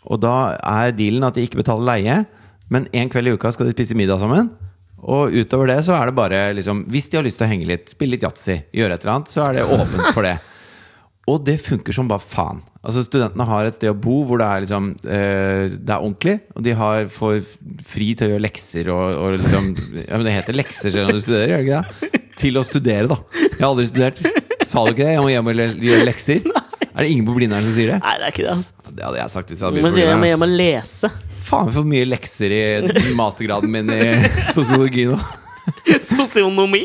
[SPEAKER 2] Og da er dealen at de ikke betaler leie, men en kveld i uka skal de spise middag sammen. Og utover det så er det bare liksom Hvis de har lyst til å henge litt, spille litt yatzy, gjøre et eller annet, så er det åpent for [laughs] det. Og det funker som bare faen. Altså Studentene har et sted å bo hvor det er liksom eh, Det er ordentlig, og de har, får fri til å gjøre lekser og, og liksom Ja, men det heter lekser selv om du studerer, gjør det ikke det? Til å studere, da. Jeg har aldri studert. Sa du ikke det? Jeg må hjem og le- gjøre lekser. [laughs] Er det ingen på Blindern som sier det?
[SPEAKER 1] nei, det er ikke det, altså.
[SPEAKER 2] Det hadde jeg sagt hvis jeg hadde
[SPEAKER 1] Du
[SPEAKER 2] blitt
[SPEAKER 1] må
[SPEAKER 2] på
[SPEAKER 1] si jeg
[SPEAKER 2] Blindern,
[SPEAKER 1] må
[SPEAKER 2] ass.
[SPEAKER 1] hjem og lese.
[SPEAKER 2] Faen for mye lekser i mastergraden min i sosiologi nå.
[SPEAKER 1] [laughs] Sosionomi.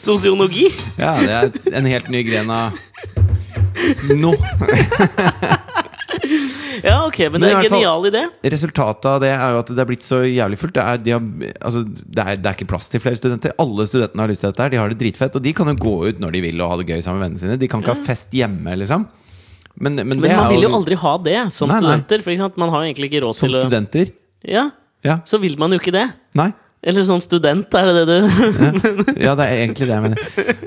[SPEAKER 1] Sosionogi.
[SPEAKER 2] Ja, det er en helt ny gren av Nå!
[SPEAKER 1] Ja, ok, men
[SPEAKER 2] Men
[SPEAKER 1] det er
[SPEAKER 2] i
[SPEAKER 1] en
[SPEAKER 2] hvert fall-
[SPEAKER 1] genial idé.
[SPEAKER 2] Resultatet av det er jo at det er blitt så jævlig fullt. Det er, de har, altså, det, er, det er ikke plass til flere studenter. Alle studentene har lyst til dette. her De har det dritfett. Og de kan jo gå ut når de vil og ha det gøy sammen med vennene sine. De kan ikke ha fest hjemme, liksom. Men, men, det
[SPEAKER 1] Men man
[SPEAKER 2] er
[SPEAKER 1] vil
[SPEAKER 2] jo
[SPEAKER 1] jo aldri ha det som
[SPEAKER 2] Nei, nei.
[SPEAKER 1] studenter. For ikke sant? Man har jo egentlig ikke råd
[SPEAKER 2] Som
[SPEAKER 1] til å
[SPEAKER 2] studenter.
[SPEAKER 1] Ja,
[SPEAKER 2] Ja.
[SPEAKER 1] så vil man jo ikke det.
[SPEAKER 2] Nei.
[SPEAKER 1] Eller som student, er det det du [laughs]
[SPEAKER 2] Ja, det er egentlig det jeg mener.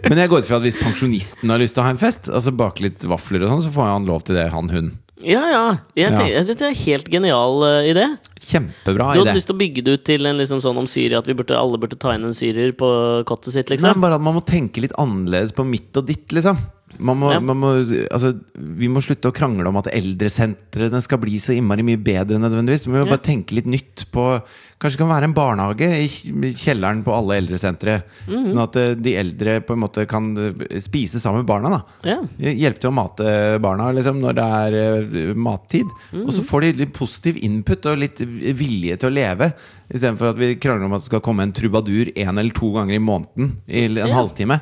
[SPEAKER 2] Men jeg går ut fra at hvis pensjonisten har lyst til å ha en fest, altså bake litt vafler og sånn, så får han lov til det, han hun.
[SPEAKER 1] Ja, ja. Jeg
[SPEAKER 2] Ja.
[SPEAKER 1] tenker, jeg synes det er en helt genial eh, idé.
[SPEAKER 2] Kjempebra
[SPEAKER 1] Du
[SPEAKER 2] idé.
[SPEAKER 1] hadde lyst til å bygge det ut til en liksom sånn om Syria, at vi burde, alle burde ta inn en syrer på kottet sitt,
[SPEAKER 2] Nei,
[SPEAKER 1] liksom?
[SPEAKER 2] bare at man må tenke litt annerledes på mitt og ditt, liksom. Man må,
[SPEAKER 1] Ja.
[SPEAKER 2] man må, altså, vi må slutte å krangle om at eldresentrene skal bli så innmari mye bedre nødvendigvis. Vi må
[SPEAKER 1] Ja.
[SPEAKER 2] bare tenke litt nytt på Kanskje det kan være en barnehage i kj- kjelleren på alle eldresentre.
[SPEAKER 1] Mhm.
[SPEAKER 2] Sånn at eh, de eldre på en måte kan eh, spise sammen med barna. da
[SPEAKER 1] Ja.
[SPEAKER 2] Hjelpe til å mate barna liksom, når det er eh, mattid.
[SPEAKER 1] Mm.
[SPEAKER 2] Og så får de litt positiv input og litt vilje til å leve. Istedenfor at vi krangler om at det skal komme en trubadur én eller to ganger i måneden. I en
[SPEAKER 1] Ja.
[SPEAKER 2] halvtime.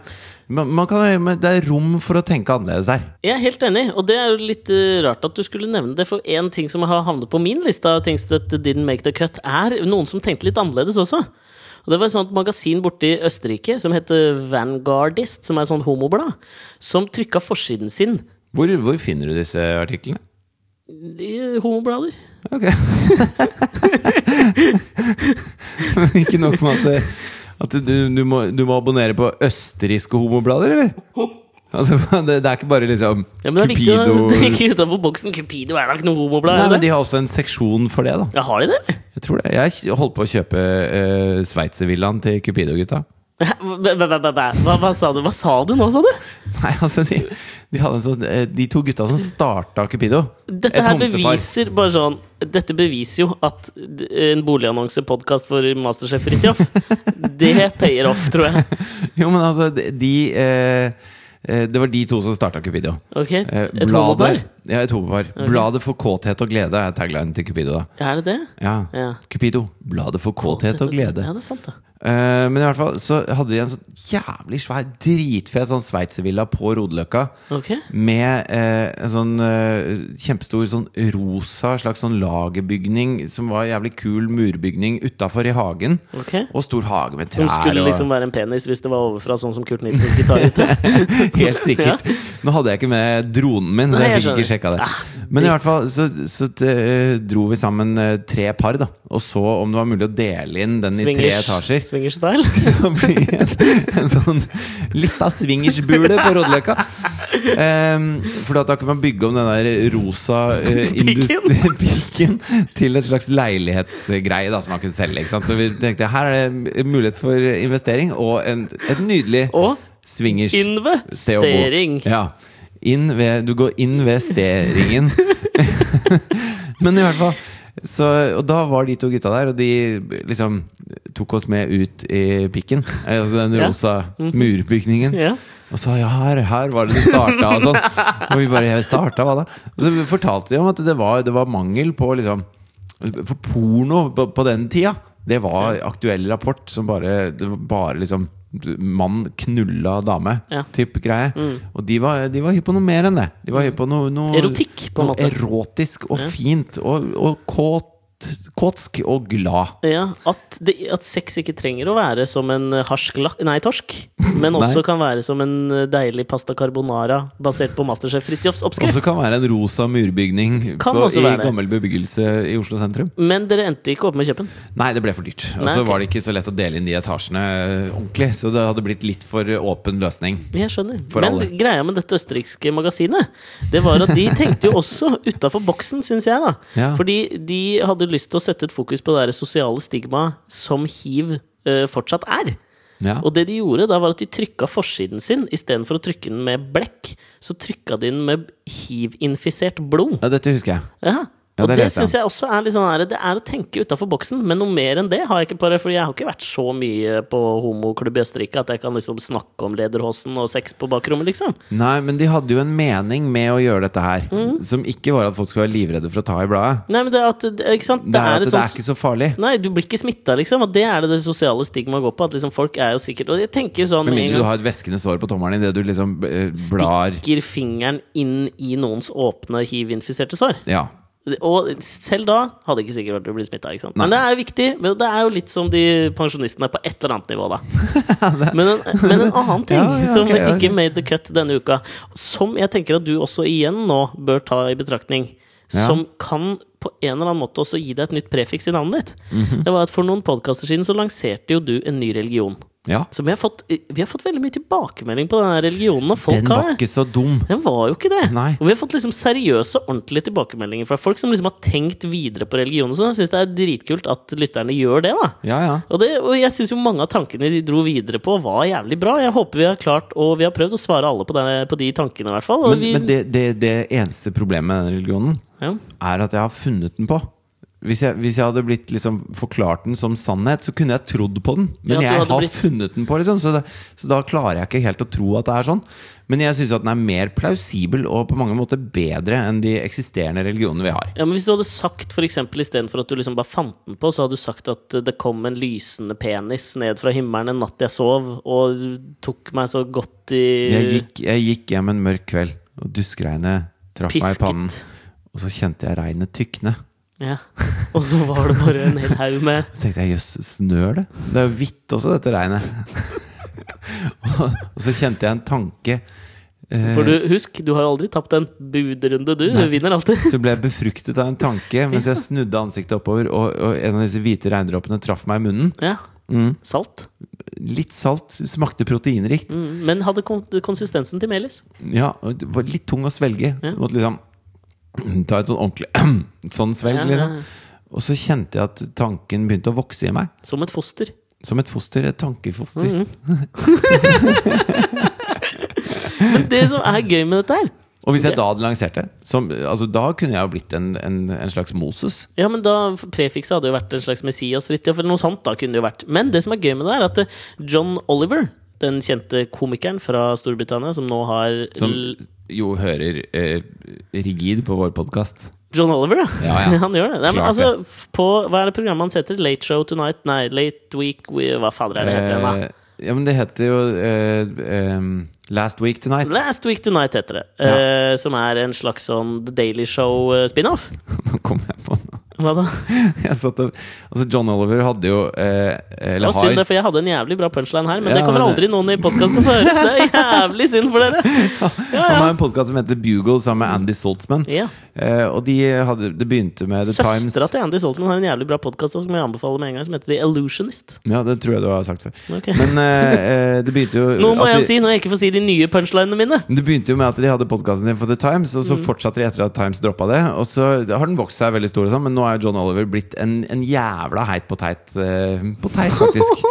[SPEAKER 2] Man, man kan, men det er rom for å tenke annerledes der.
[SPEAKER 1] Jeg er helt enig, og det er jo litt eh, rart at du skulle nevne det. For én ting som har havnet på min liste av things that didn't make the cut, er noen som tenkte litt annerledes også. Og Det var et sånt magasin borte i Østerrike som heter Vanguardist, som er et sånt homoblad, som trykka forsiden sin
[SPEAKER 2] Hvor, hvor finner du disse artiklene?
[SPEAKER 1] i homoblader.
[SPEAKER 2] Ok. [laughs] Ikke nok med at, det- at du, du, må, du må abonnere på østerrikske homoblader, eller? Altså, det, det er ikke bare liksom
[SPEAKER 1] Ja, men [laughs] det er viktig å
[SPEAKER 2] Cupido
[SPEAKER 1] tenke utenfor boksen. Cupido er da ikke noe homoblad?
[SPEAKER 2] Nei,
[SPEAKER 1] er
[SPEAKER 2] men
[SPEAKER 1] det?
[SPEAKER 2] De har også en seksjon for det. da
[SPEAKER 1] Ja, har de det? [laughs]
[SPEAKER 2] Jeg tror det Jeg holdt på å kjøpe uh, sveitservillaen til Cupido-gutta.
[SPEAKER 1] Hva, hva, hva, hva, hva sa du? Hva sa du nå, sa du?
[SPEAKER 2] Nei, altså de, de, hadde en sånn, eh, de to gutta som starta Cupido.
[SPEAKER 1] Dette her beviser bare sånn Dette beviser jo at d- en boligannonsepodkast for Masterchef
[SPEAKER 2] [laughs]
[SPEAKER 1] Fridtjof Det payer off, tror jeg.
[SPEAKER 2] Jo, men altså, de, de eh, eh, Det var de to som starta Cupido.
[SPEAKER 1] Ok,
[SPEAKER 2] Eh,
[SPEAKER 1] Et homopar?
[SPEAKER 2] bladet, ja, et homopar. Bladet for kåthet og glede er taglinen til Cupido. da
[SPEAKER 1] Er det det?
[SPEAKER 2] ja.
[SPEAKER 1] Ja.
[SPEAKER 2] Cupido. Bladet for kåthet og glede.
[SPEAKER 1] Ja, det er sant, da.
[SPEAKER 2] Eh, men i hvert fall så hadde de en sånn jævlig svær, dritfet sånn sveitservilla på Rodeløkka.
[SPEAKER 1] Ok.
[SPEAKER 2] Med eh, en sånn eh, kjempestor sånn rosa slags sånn lagerbygning som var en jævlig kul murbygning utafor i hagen.
[SPEAKER 1] ok
[SPEAKER 2] Og stor hage med trær.
[SPEAKER 1] Som skulle
[SPEAKER 2] og- [laughs]
[SPEAKER 1] liksom være en penis hvis det var overfra, sånn som Kurt Nilsens gitarist.
[SPEAKER 2] Helt sikkert. Nå hadde jeg ikke med dronen min, så
[SPEAKER 1] Nei,
[SPEAKER 2] jeg
[SPEAKER 1] jeg
[SPEAKER 2] fikk ikke
[SPEAKER 1] skjønner.
[SPEAKER 2] sjekka det.
[SPEAKER 1] Ah,
[SPEAKER 2] Men i
[SPEAKER 1] dritt.
[SPEAKER 2] hvert fall så, så eh, dro vi sammen eh, tre par, da. Og så om det var mulig å dele inn den i tre etasjer. [laughs]
[SPEAKER 1] Swingers-style.
[SPEAKER 2] Det blir en- en sånn lita swingersbule på Rodeløkka. Um, for da kan man bygge om den der rosa
[SPEAKER 1] [laughs]
[SPEAKER 2] eh, [laughs] industri- piken til et slags leilighetsgreie da, som man kunne selge. Ikke sant? Så vi tenkte her er det en mulighet for investering og en, et nydelig
[SPEAKER 1] Og
[SPEAKER 2] swingers sted å bo.
[SPEAKER 1] investering.
[SPEAKER 2] Ja. Inn ved, du går inn ved steringen. Men i hvert fall så, Og da var de to gutta der, og de liksom tok oss med ut i pikken. Eh, Altså den
[SPEAKER 1] Ja. Mhm.
[SPEAKER 2] rosa murbygningen.
[SPEAKER 1] Ja.
[SPEAKER 2] Og sa ja, her, her var det det starta og sånn. Og vi bare ja, starta, hva da? Og så fortalte de om at det var, det var mangel på liksom For porno på, på den tida, det var aktuell rapport som bare Det var bare liksom Mann knulla dame,
[SPEAKER 1] Ja. Mm.
[SPEAKER 2] typ greie. Og de var, de var hypp på noe mer enn det. De var hypp på noe, noe
[SPEAKER 1] Erotikk, på en
[SPEAKER 2] noe
[SPEAKER 1] måte.
[SPEAKER 2] Erotisk og fint og, og kåt, kåtsk og glad.
[SPEAKER 1] Ja, at, det, at sex ikke trenger å være som en eh, harsk lak... Nei, torsk.
[SPEAKER 2] [laughs]
[SPEAKER 1] Men også
[SPEAKER 2] Nei.
[SPEAKER 1] kan være som en eh, deilig pasta carbonara basert på Masterchef Fridtjofs
[SPEAKER 2] Og
[SPEAKER 1] oppskrift.
[SPEAKER 2] så kan være en rosa murbygning
[SPEAKER 1] Kan
[SPEAKER 2] på,
[SPEAKER 1] også
[SPEAKER 2] i
[SPEAKER 1] være det.
[SPEAKER 2] gammel bebyggelse i Oslo sentrum.
[SPEAKER 1] Men dere endte ikke opp med kjøpen.
[SPEAKER 2] Nei, det ble for dyrt. Og
[SPEAKER 1] Nei,
[SPEAKER 2] så
[SPEAKER 1] ok.
[SPEAKER 2] var det ikke så lett å dele inn de etasjene eh, ordentlig. Så det hadde blitt litt for eh, åpen løsning.
[SPEAKER 1] Jeg skjønner.
[SPEAKER 2] For
[SPEAKER 1] Men
[SPEAKER 2] alle.
[SPEAKER 1] greia med dette østerrikske magasinet, det var at de tenkte jo også utafor boksen, syns jeg, da.
[SPEAKER 2] Ja.
[SPEAKER 1] Fordi de hadde lyst til å sette et fokus på det der sosiale stigmaet som hiv eh, fortsatt er.
[SPEAKER 2] Ja.
[SPEAKER 1] Og det de gjorde da var at de trykka forsiden sin istedenfor å trykke den med blekk. Så trykka de den med hiv-infisert blod.
[SPEAKER 2] ja, dette husker jeg.
[SPEAKER 1] Ja.
[SPEAKER 2] Ja,
[SPEAKER 1] Og
[SPEAKER 2] det
[SPEAKER 1] det,
[SPEAKER 2] leste jeg.
[SPEAKER 1] synes jeg også er litt sånn her, Det er å tenke utafor boksen, men noe mer enn det har jeg ikke på det. Fordi jeg har ikke vært så mye på homoklubb i Østerrike at jeg kan liksom snakke om lederhosen og sex på bakrommet, liksom.
[SPEAKER 2] Nei, men de hadde jo en mening med å gjøre dette her.
[SPEAKER 1] Mhm.
[SPEAKER 2] Som ikke var at folk skulle være livredde for å ta i bladet.
[SPEAKER 1] Nei, men det, er at, det- ikke sant?
[SPEAKER 2] Det,
[SPEAKER 1] Det,
[SPEAKER 2] er at
[SPEAKER 1] et
[SPEAKER 2] det
[SPEAKER 1] sånt-
[SPEAKER 2] er ikke så farlig.
[SPEAKER 1] Nei, du blir ikke smitta, liksom. Og det er det det sosiale stigmaet går på. At liksom folk er jo sikkert Og jeg tenker jo sånn
[SPEAKER 2] Med
[SPEAKER 1] med en
[SPEAKER 2] mindre du
[SPEAKER 1] gang
[SPEAKER 2] har et væskende sår på tommelen idet du liksom eh, blar
[SPEAKER 1] Stikker fingeren inn i noens åpne hiv-infiserte sår.
[SPEAKER 2] Ja.
[SPEAKER 1] Og selv da hadde det ikke sikkert vært å bli smitta. Men det er jo viktig. men Det er jo litt som de pensjonistene på et eller annet nivå,
[SPEAKER 2] [laughs]
[SPEAKER 1] da. Men en, men en annen ting
[SPEAKER 2] Ja, ja,
[SPEAKER 1] som
[SPEAKER 2] ok, ja.
[SPEAKER 1] ikke made the cut denne uka, som jeg tenker at du også igjen nå bør ta i betraktning,
[SPEAKER 2] Ja.
[SPEAKER 1] som kan på en eller annen måte også gi deg et nytt prefiks i navnet ditt,
[SPEAKER 2] Mhm.
[SPEAKER 1] det var at for noen podkaster siden så lanserte jo du en ny religion.
[SPEAKER 2] ja.
[SPEAKER 1] Som vi har fått, vi har fått veldig mye tilbakemelding på den her religionen. Og folk
[SPEAKER 2] Den
[SPEAKER 1] har
[SPEAKER 2] var ikke så dum.
[SPEAKER 1] den var jo ikke det.
[SPEAKER 2] Nei.
[SPEAKER 1] Og vi har fått liksom seriøse, ordentlige tilbakemeldinger fra folk som liksom har tenkt videre på religion. og sånn. Jeg syns det er dritkult at lytterne gjør det. da
[SPEAKER 2] Ja, ja.
[SPEAKER 1] og, det, og jeg syns jo mange av tankene de dro videre på, var jævlig bra. Jeg håper vi har klart og vi har prøvd å svare alle på, denne, på de tankene, i hvert fall. Og
[SPEAKER 2] Men,
[SPEAKER 1] vi,
[SPEAKER 2] men det, det, det eneste problemet med den religionen
[SPEAKER 1] ja.
[SPEAKER 2] er at jeg har funnet den på. Hvis jeg, hvis jeg hadde blitt liksom forklart den som sannhet, så kunne jeg trodd på den.
[SPEAKER 1] Ja,
[SPEAKER 2] Men
[SPEAKER 1] at du
[SPEAKER 2] jeg
[SPEAKER 1] hadde
[SPEAKER 2] har
[SPEAKER 1] blitt-
[SPEAKER 2] funnet den på, liksom, så, det, så da klarer jeg ikke helt å tro at det er sånn. Men jeg syns den er mer plausibel og på mange måter bedre enn de eksisterende religionene vi har.
[SPEAKER 1] ja, men Hvis du hadde sagt for eksempel, istedenfor at du liksom bare fant den på, så hadde du sagt at eh, det kom en lysende penis ned fra himmelen en natt jeg sov, og tok meg så godt i
[SPEAKER 2] Jeg gikk, jeg gikk hjem en mørk kveld, og duskregnet traff meg i
[SPEAKER 1] Pisket.
[SPEAKER 2] pannen. Og så kjente jeg regnet tykne.
[SPEAKER 1] Ja. Og så var det bare en hel haug med
[SPEAKER 2] Så tenkte jeg, jøss, snør det? Det er jo hvitt også, dette regnet. [laughs] og, og så kjente jeg en tanke. eh,
[SPEAKER 1] For du, husk, du har jo aldri tapt en budrunde, du. Du vinner
[SPEAKER 2] [laughs]
[SPEAKER 1] alltid.
[SPEAKER 2] Så ble jeg befruktet av en tanke mens jeg snudde ansiktet oppover, og, og en av disse hvite regndråpene traff meg i munnen.
[SPEAKER 1] Ja.
[SPEAKER 2] Mm.
[SPEAKER 1] Salt.
[SPEAKER 2] Litt salt, smakte proteinrikt.
[SPEAKER 1] Mm. Men hadde kon konsistensen til melis.
[SPEAKER 2] Ja, og det var litt tung å svelge. Måtte liksom ta et sånn ordentlig [clears throat] sånn svelg.
[SPEAKER 1] Ja, ja,
[SPEAKER 2] Liksom.
[SPEAKER 1] ja.
[SPEAKER 2] Og så kjente jeg at tanken begynte å vokse i meg.
[SPEAKER 1] Som et foster.
[SPEAKER 2] Som et foster, et
[SPEAKER 1] Mm.
[SPEAKER 2] tankefoster.
[SPEAKER 1] Men det som er gøy med dette her
[SPEAKER 2] Og hvis jeg
[SPEAKER 1] Det-
[SPEAKER 2] da hadde lansert det, som, altså, da kunne jeg jo blitt en, en, en slags Moses.
[SPEAKER 1] Ja, men da Prefikset hadde jo vært en slags Messias, Fridtjof, eller noe sånt. da kunne det jo vært Men det som er gøy med det, er at eh, John Oliver, den kjente komikeren fra Storbritannia, som nå har
[SPEAKER 2] Som
[SPEAKER 1] l-
[SPEAKER 2] jo hører eh, rigid på vår podkast.
[SPEAKER 1] John Oliver, ja.
[SPEAKER 2] Ja, ja.
[SPEAKER 1] [laughs] Han gjør det. Nei, men
[SPEAKER 2] Klart
[SPEAKER 1] altså, f- på, hva er det programmet hans heter? Late Show Tonight? Nei, Late Week we, Hva fader er det heter igjen, da?
[SPEAKER 2] Eh, ja, men det heter jo eh, em, Last Week Tonight.
[SPEAKER 1] Last Week Tonight heter det.
[SPEAKER 2] Ja.
[SPEAKER 1] eh, som er en slags sånn The Daily Show-spin-off.
[SPEAKER 2] [laughs] Nå kom jeg på noe. [laughs]
[SPEAKER 1] Hva da?
[SPEAKER 2] Jeg satt og, altså John Oliver hadde jo eh,
[SPEAKER 1] Det
[SPEAKER 2] Eller
[SPEAKER 1] var synd, det,
[SPEAKER 2] har
[SPEAKER 1] for jeg hadde en jævlig bra punchline her, men
[SPEAKER 2] Ja,
[SPEAKER 1] det kommer
[SPEAKER 2] men-
[SPEAKER 1] aldri noen i podkasten til å høre. Det er jævlig synd for dere!
[SPEAKER 2] [laughs]
[SPEAKER 1] Ja,
[SPEAKER 2] Han
[SPEAKER 1] ja.
[SPEAKER 2] har en podkast som heter Bugle sammen med Andy Saltzman.
[SPEAKER 1] Ja.
[SPEAKER 2] Eh, og de hadde, det begynte med The Times.
[SPEAKER 1] Søstera til Andy Saltzman har en jævlig bra podkast som jeg anbefaler med en gang, som heter The Illusionist.
[SPEAKER 2] Ja, det tror jeg du har sagt før. [laughs]
[SPEAKER 1] Ok.
[SPEAKER 2] Men eh, eh, det begynte jo
[SPEAKER 1] Nå må
[SPEAKER 2] at
[SPEAKER 1] jeg
[SPEAKER 2] de-
[SPEAKER 1] jo si når jeg ikke får si de nye punchlinene mine.
[SPEAKER 2] Men Det begynte jo med at de hadde podkasten sin for The Times, og så fortsatte de etter at Times droppa det. Og så har den vokst seg veldig stor, og sånn, men nå er jo John Oliver blitt en, en jævla heit på teit. eh, På teit, faktisk.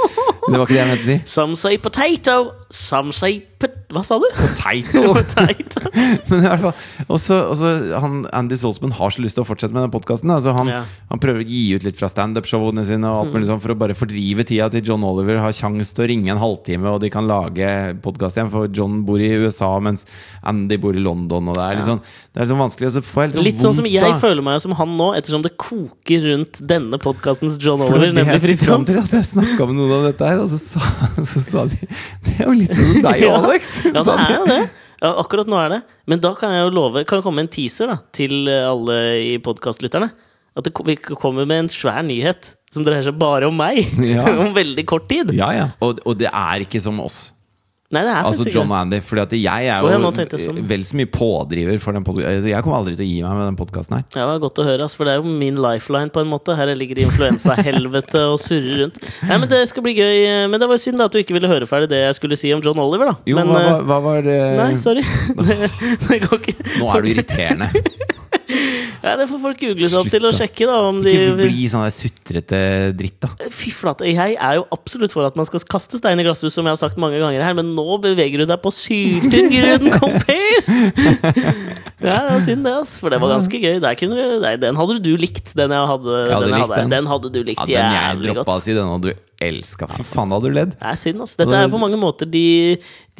[SPEAKER 2] Det var ikke det jeg mente å si.
[SPEAKER 1] Some say potato, some say pot... Hva
[SPEAKER 2] [laughs]
[SPEAKER 1] sa du? [laughs]
[SPEAKER 2] Potato.
[SPEAKER 1] Potato.
[SPEAKER 2] [laughs] Men i hvert fall Og så og så han- Andy Saltzman har så lyst til å fortsette med den podkasten. Altså han,
[SPEAKER 1] Ja. Mm.
[SPEAKER 2] han prøver å gi ut litt fra standup-showene sine og alt mulig sånn for å bare fordrive tida til John Oliver har kjangs til å ringe en halvtime, og de kan lage podkast igjen. For John bor i USA, mens Andy bor i London, og det er litt sånn, det er litt sånn vanskelig. Og så får jeg litt sånn
[SPEAKER 1] Litt sånn som
[SPEAKER 2] vondt
[SPEAKER 1] jeg
[SPEAKER 2] da.
[SPEAKER 1] føler meg som han nå, ettersom det koker rundt denne podkastens John
[SPEAKER 2] For
[SPEAKER 1] Oliver,
[SPEAKER 2] det var det
[SPEAKER 1] nemlig
[SPEAKER 2] jeg skulle
[SPEAKER 1] Fritt
[SPEAKER 2] fram til at jeg snakka med noen om dette her, og så sa, [laughs] så sa de Det er jo litt sånn som
[SPEAKER 1] [laughs]
[SPEAKER 2] deg,
[SPEAKER 1] Ja.
[SPEAKER 2] Alex!
[SPEAKER 1] Ja, det
[SPEAKER 2] sa de.
[SPEAKER 1] er jo det. Ja, akkurat nå er det. Men da kan jeg jo love Kan det komme en teaser da til eh, alle i podkastlytterne? At det, ko- vi kommer med en svær nyhet som dreier seg bare om meg.
[SPEAKER 2] Ja.
[SPEAKER 1] [laughs] om veldig kort tid.
[SPEAKER 2] Ja, ja. Og, og det er ikke som oss.
[SPEAKER 1] Nei, det er
[SPEAKER 2] Altså
[SPEAKER 1] faktisk
[SPEAKER 2] John
[SPEAKER 1] ikke det.
[SPEAKER 2] og Andy. Fordi at jeg er
[SPEAKER 1] Å, ja,
[SPEAKER 2] jo
[SPEAKER 1] nå tenkte jeg sånn.
[SPEAKER 2] vel så mye pådriver for den podkasten. Jeg kommer aldri til å gi meg med den podkasten her.
[SPEAKER 1] Ja, det var godt å høre, ass, for det er jo min lifeline på en måte. Her jeg ligger i influensahelvete og surrer rundt. Nei, Men det skal bli gøy. eh, Men det var jo synd da at du ikke ville høre ferdig det jeg skulle si om John Oliver, da.
[SPEAKER 2] Jo,
[SPEAKER 1] men,
[SPEAKER 2] hva,
[SPEAKER 1] eh,
[SPEAKER 2] hva, hva var det
[SPEAKER 1] Nei,
[SPEAKER 2] [laughs]
[SPEAKER 1] sorry. [laughs] Det, det går ikke.
[SPEAKER 2] Nå er
[SPEAKER 1] [laughs]
[SPEAKER 2] du irriterende.
[SPEAKER 1] Nei, det får folk google seg opp til og
[SPEAKER 2] Slutt, da.
[SPEAKER 1] sjekke, da. Om de
[SPEAKER 2] Ikke bli sånn der sutrete dritt, da.
[SPEAKER 1] Fy flate, jeg er jo absolutt for at man skal kaste stein i glasshus, som jeg har sagt mange ganger her, men nå beveger du deg på syltynn
[SPEAKER 2] [laughs]
[SPEAKER 1] grunn, kompis! Ja, det var synd det, ass, for det var ganske gøy. Der kunne du, nei, den hadde du likt, den jeg hadde.
[SPEAKER 2] Jeg hadde
[SPEAKER 1] den, jeg
[SPEAKER 2] likt
[SPEAKER 1] hadde.
[SPEAKER 2] den.
[SPEAKER 1] den hadde du
[SPEAKER 2] Ja,
[SPEAKER 1] likt
[SPEAKER 2] den jeg
[SPEAKER 1] jævlig
[SPEAKER 2] droppa å
[SPEAKER 1] godt.
[SPEAKER 2] si, den hadde du elska. Fy faen, da hadde du ledd.
[SPEAKER 1] Det er synd, ass. Dette er på mange måter de,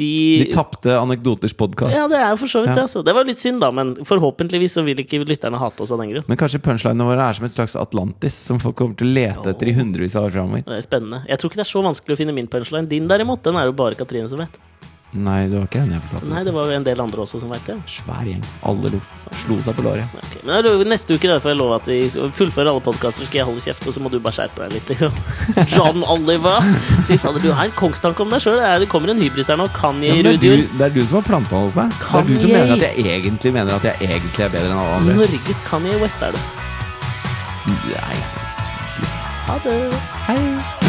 [SPEAKER 1] de,
[SPEAKER 2] De tapte Anekdoters podkast.
[SPEAKER 1] Ja, det er jo for så vidt
[SPEAKER 2] Ja.
[SPEAKER 1] det, altså. Det var litt synd, da, men forhåpentligvis så vil ikke lytterne hate oss av den grunn.
[SPEAKER 2] Men kanskje punchlinene våre er som et slags Atlantis som folk kommer til å lete etter i hundrevis av år framover.
[SPEAKER 1] Det er spennende. Jeg tror ikke det er så vanskelig å finne min punchline. Din derimot, den er jo bare Katrine som vet.
[SPEAKER 2] Nei, det var ikke den jeg fortalte.
[SPEAKER 1] Nei, det var jo en del andre også som veit det.
[SPEAKER 2] Svær gjeng. Alle lo- slo seg på låret.
[SPEAKER 1] Ok, men da lover- Neste uke da får jeg love at vi fullfører alle podkaster, skal jeg holde kjeft, og så må du bare skjerpe deg litt,
[SPEAKER 2] [laughs]
[SPEAKER 1] liksom. John Oliver! Fy fader, du har en kongstanke om deg sjøl. Det kommer en hybris her nå. Kanye
[SPEAKER 2] Ja, men det, er
[SPEAKER 1] Rudior.
[SPEAKER 2] du, det er du som har planta den hos meg.
[SPEAKER 1] Kan
[SPEAKER 2] det er du som
[SPEAKER 1] jeg?
[SPEAKER 2] mener at jeg egentlig mener at jeg egentlig er bedre enn alle andre.
[SPEAKER 1] Norges Kanye West er det.
[SPEAKER 2] Nei,
[SPEAKER 1] Ha det!
[SPEAKER 2] hei